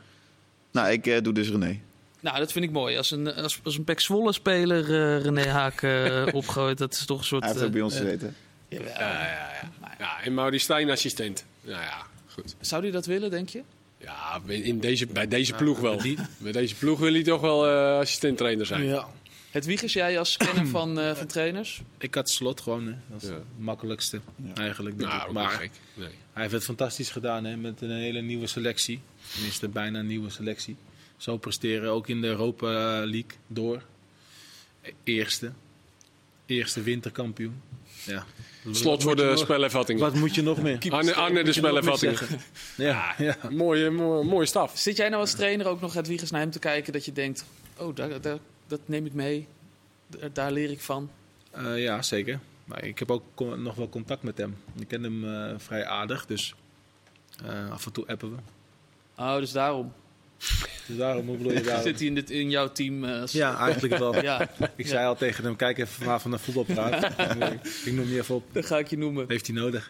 Speaker 2: Nou, ik eh, doe dus René.
Speaker 1: Nou, dat vind ik mooi. Als een, als, als een Pek Zwolle-speler eh, René Haak eh, opgooit, dat is toch een soort...
Speaker 2: Hij heeft ook
Speaker 1: eh,
Speaker 2: bij ons gezeten.
Speaker 1: jawel.
Speaker 3: Ja, ja, ja. ja en Maurice Stijn assistent. Nou ja, goed.
Speaker 1: Zou hij dat willen, denk je?
Speaker 3: Ja, in deze, bij deze ploeg wel.
Speaker 4: die-
Speaker 3: Bij deze ploeg wil hij toch wel eh assistent trainer zijn.
Speaker 5: Ja.
Speaker 1: Het Wiegers, jij als kenner van, eh, van trainers?
Speaker 4: Ik had slot gewoon, hè. Dat is
Speaker 3: Ja.
Speaker 4: het makkelijkste eigenlijk. denk
Speaker 3: Nou,
Speaker 4: ik.
Speaker 3: ook
Speaker 4: maar
Speaker 3: maar gek. Nee.
Speaker 4: hij heeft het fantastisch gedaan hè, met een hele nieuwe selectie. Tenminste, bijna een nieuwe selectie. Zo presteren, ook in de Europa League door. E- Eerste. Eerste winterkampioen. Ja.
Speaker 3: Slot voor de
Speaker 4: spelling.
Speaker 3: spelervatting.
Speaker 4: Wat moet je nog meer?
Speaker 3: Arne, Arne de spelervatting.
Speaker 4: Ja, ja.
Speaker 3: Mooie, mooie, mooie staf.
Speaker 1: Zit jij nou als trainer ook nog het Wiegers naar hem te kijken dat je denkt... Oh, daar, daar, dat neem ik mee. Daar, daar leer ik van.
Speaker 4: Eh, ja, zeker. Maar ik heb ook con- nog wel contact met hem. Ik ken hem eh, vrij aardig, dus eh, af en toe appen we.
Speaker 1: Oh, dus daarom.
Speaker 4: Dus daarom, hoe bedoel je daarom?
Speaker 1: Zit hij in, dit, in jouw team? eh, als-
Speaker 4: Ja, eigenlijk wel.
Speaker 1: ja,
Speaker 4: Ik zei al tegen hem, kijk even vanavond naar voetbalpraat. ik noem je even op.
Speaker 1: dat ga ik je noemen.
Speaker 4: Heeft hij nodig?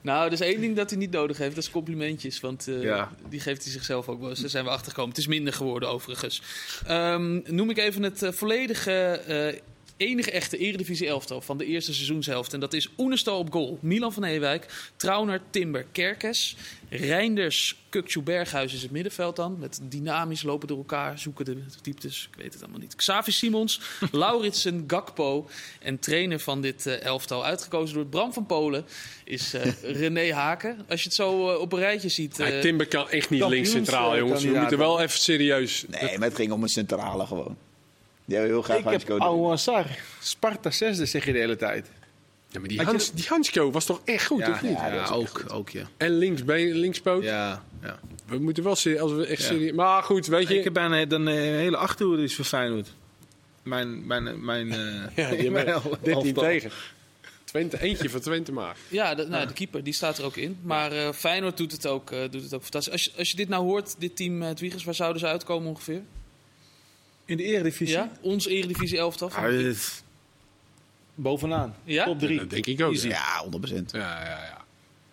Speaker 1: Nou, er is één ding dat hij niet nodig heeft. Dat is complimentjes. Want eh,
Speaker 4: Ja.
Speaker 1: die geeft hij zichzelf ook wel eens. Daar zijn we achter gekomen. Het is minder geworden overigens. Ehm, noem ik even het eh, volledige... eh, enige echte eredivisie elftal van de eerste seizoenshelft. En dat is Oenestal op goal. Milan van Ewijk, Trauner, Timber, Kerkes. Reinders, Kukju Berghuis is het middenveld dan. Met dynamisch lopen door elkaar, zoeken de dieptes. Ik weet het allemaal niet. Xavi Simons, Lauritsen, Gakpo. En trainer van dit eh, elftal, uitgekozen door Bram van Polen, is eh, René Haken. Als je het zo eh, op een rijtje ziet. eh,
Speaker 3: Ja, Timber kan echt niet
Speaker 4: kampioens,
Speaker 3: links centraal,
Speaker 4: eh,
Speaker 3: jongens. We
Speaker 4: kandidaat,
Speaker 3: moeten wel even serieus.
Speaker 2: Nee, maar het ging om een centrale gewoon. Die hebben heel graag
Speaker 4: Ik heb
Speaker 2: Hansco
Speaker 4: Ouan Sar. Sparta 6, zeg je de hele tijd.
Speaker 3: Ja, maar die,
Speaker 4: Had je
Speaker 3: Hans, die Hansko was toch echt goed, of niet?
Speaker 4: ja, ook, ook ja.
Speaker 3: En linksbeen, linkspoot.
Speaker 4: Ja, ja.
Speaker 3: We moeten wel serieus. Als we echt
Speaker 4: Ja.
Speaker 3: serieus. Maar goed, weet je.
Speaker 4: Ik heb bijna dan, eh, een hele achterhoede is voor Feyenoord. Mijn, mijn, mijn, eh,
Speaker 3: ja, die
Speaker 4: mijn
Speaker 3: hebben
Speaker 4: hel-
Speaker 3: 13
Speaker 4: elftal.
Speaker 3: tegen. Twente, eentje van Twente maar.
Speaker 1: ja, de, nou, de keeper, die staat er ook in. Maar eh, Feyenoord doet het ook, eh, doet het ook fantastisch. Als je, als je dit nou hoort, dit team, eh, het Wiegers, waar zouden ze uitkomen ongeveer?
Speaker 4: In de eredivisie?
Speaker 1: Ja, ons eredivisie elftal. van-
Speaker 4: Ah, dit- Bovenaan.
Speaker 1: Ja?
Speaker 4: Top 3.
Speaker 3: Dat denk ik ook. Ja,
Speaker 2: Ja, 100%.
Speaker 3: ja, ja. ja.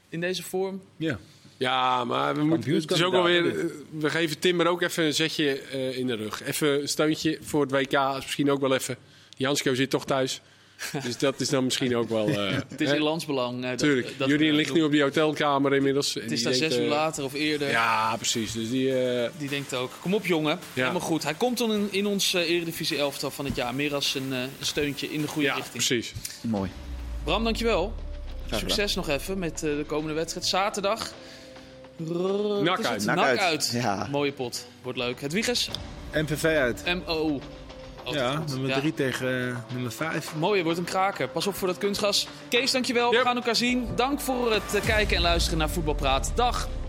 Speaker 1: In deze vorm.
Speaker 4: Ja.
Speaker 3: Ja, maar we moeten het is ook alweer. eh, We geven Timmer ook even een zetje eh, in de rug. Even een steuntje voor het WK. is Misschien ook wel even. Jansko zit toch thuis. Dus dat is dan misschien ook wel. eh,
Speaker 1: Het is
Speaker 3: hè?
Speaker 1: in landsbelang. eh, dat-
Speaker 3: Tuurlijk.
Speaker 1: dat we
Speaker 3: Jurien
Speaker 1: dat
Speaker 3: ligt
Speaker 1: doen.
Speaker 3: nu op die hotelkamer inmiddels.
Speaker 1: Het is daar zes uur later of eerder.
Speaker 3: Ja, precies. Dus die. eh,
Speaker 1: Die denkt ook, kom op jongen, helemaal goed. Hij komt dan in, in ons eh, eredivisie elftal van het jaar. Meer als een eh, een steuntje in de goede
Speaker 3: ja,
Speaker 1: richting.
Speaker 3: precies.
Speaker 2: Mooi.
Speaker 1: Bram, dankjewel.
Speaker 2: gedaan.
Speaker 1: Succes nog even met eh, de komende wedstrijd. Zaterdag. Rrr, wat
Speaker 3: Nak
Speaker 1: is het?
Speaker 3: uit.
Speaker 1: Nak
Speaker 2: Nak uit.
Speaker 1: uit.
Speaker 2: Ja.
Speaker 1: Mooie pot. Wordt leuk. Het Wiegers,
Speaker 4: MVV uit.
Speaker 1: MO. altijd
Speaker 4: Ja,
Speaker 1: goed.
Speaker 4: nummer
Speaker 1: Oh, Ja.
Speaker 4: 3 tegen eh, nummer 5.
Speaker 1: Mooi, je wordt hem kraken. Pas op voor dat kunstgas. Kees, dankjewel. We
Speaker 3: Yep.
Speaker 1: gaan elkaar zien. Dank voor het eh, kijken en luisteren naar Voetbal Praat. Dag.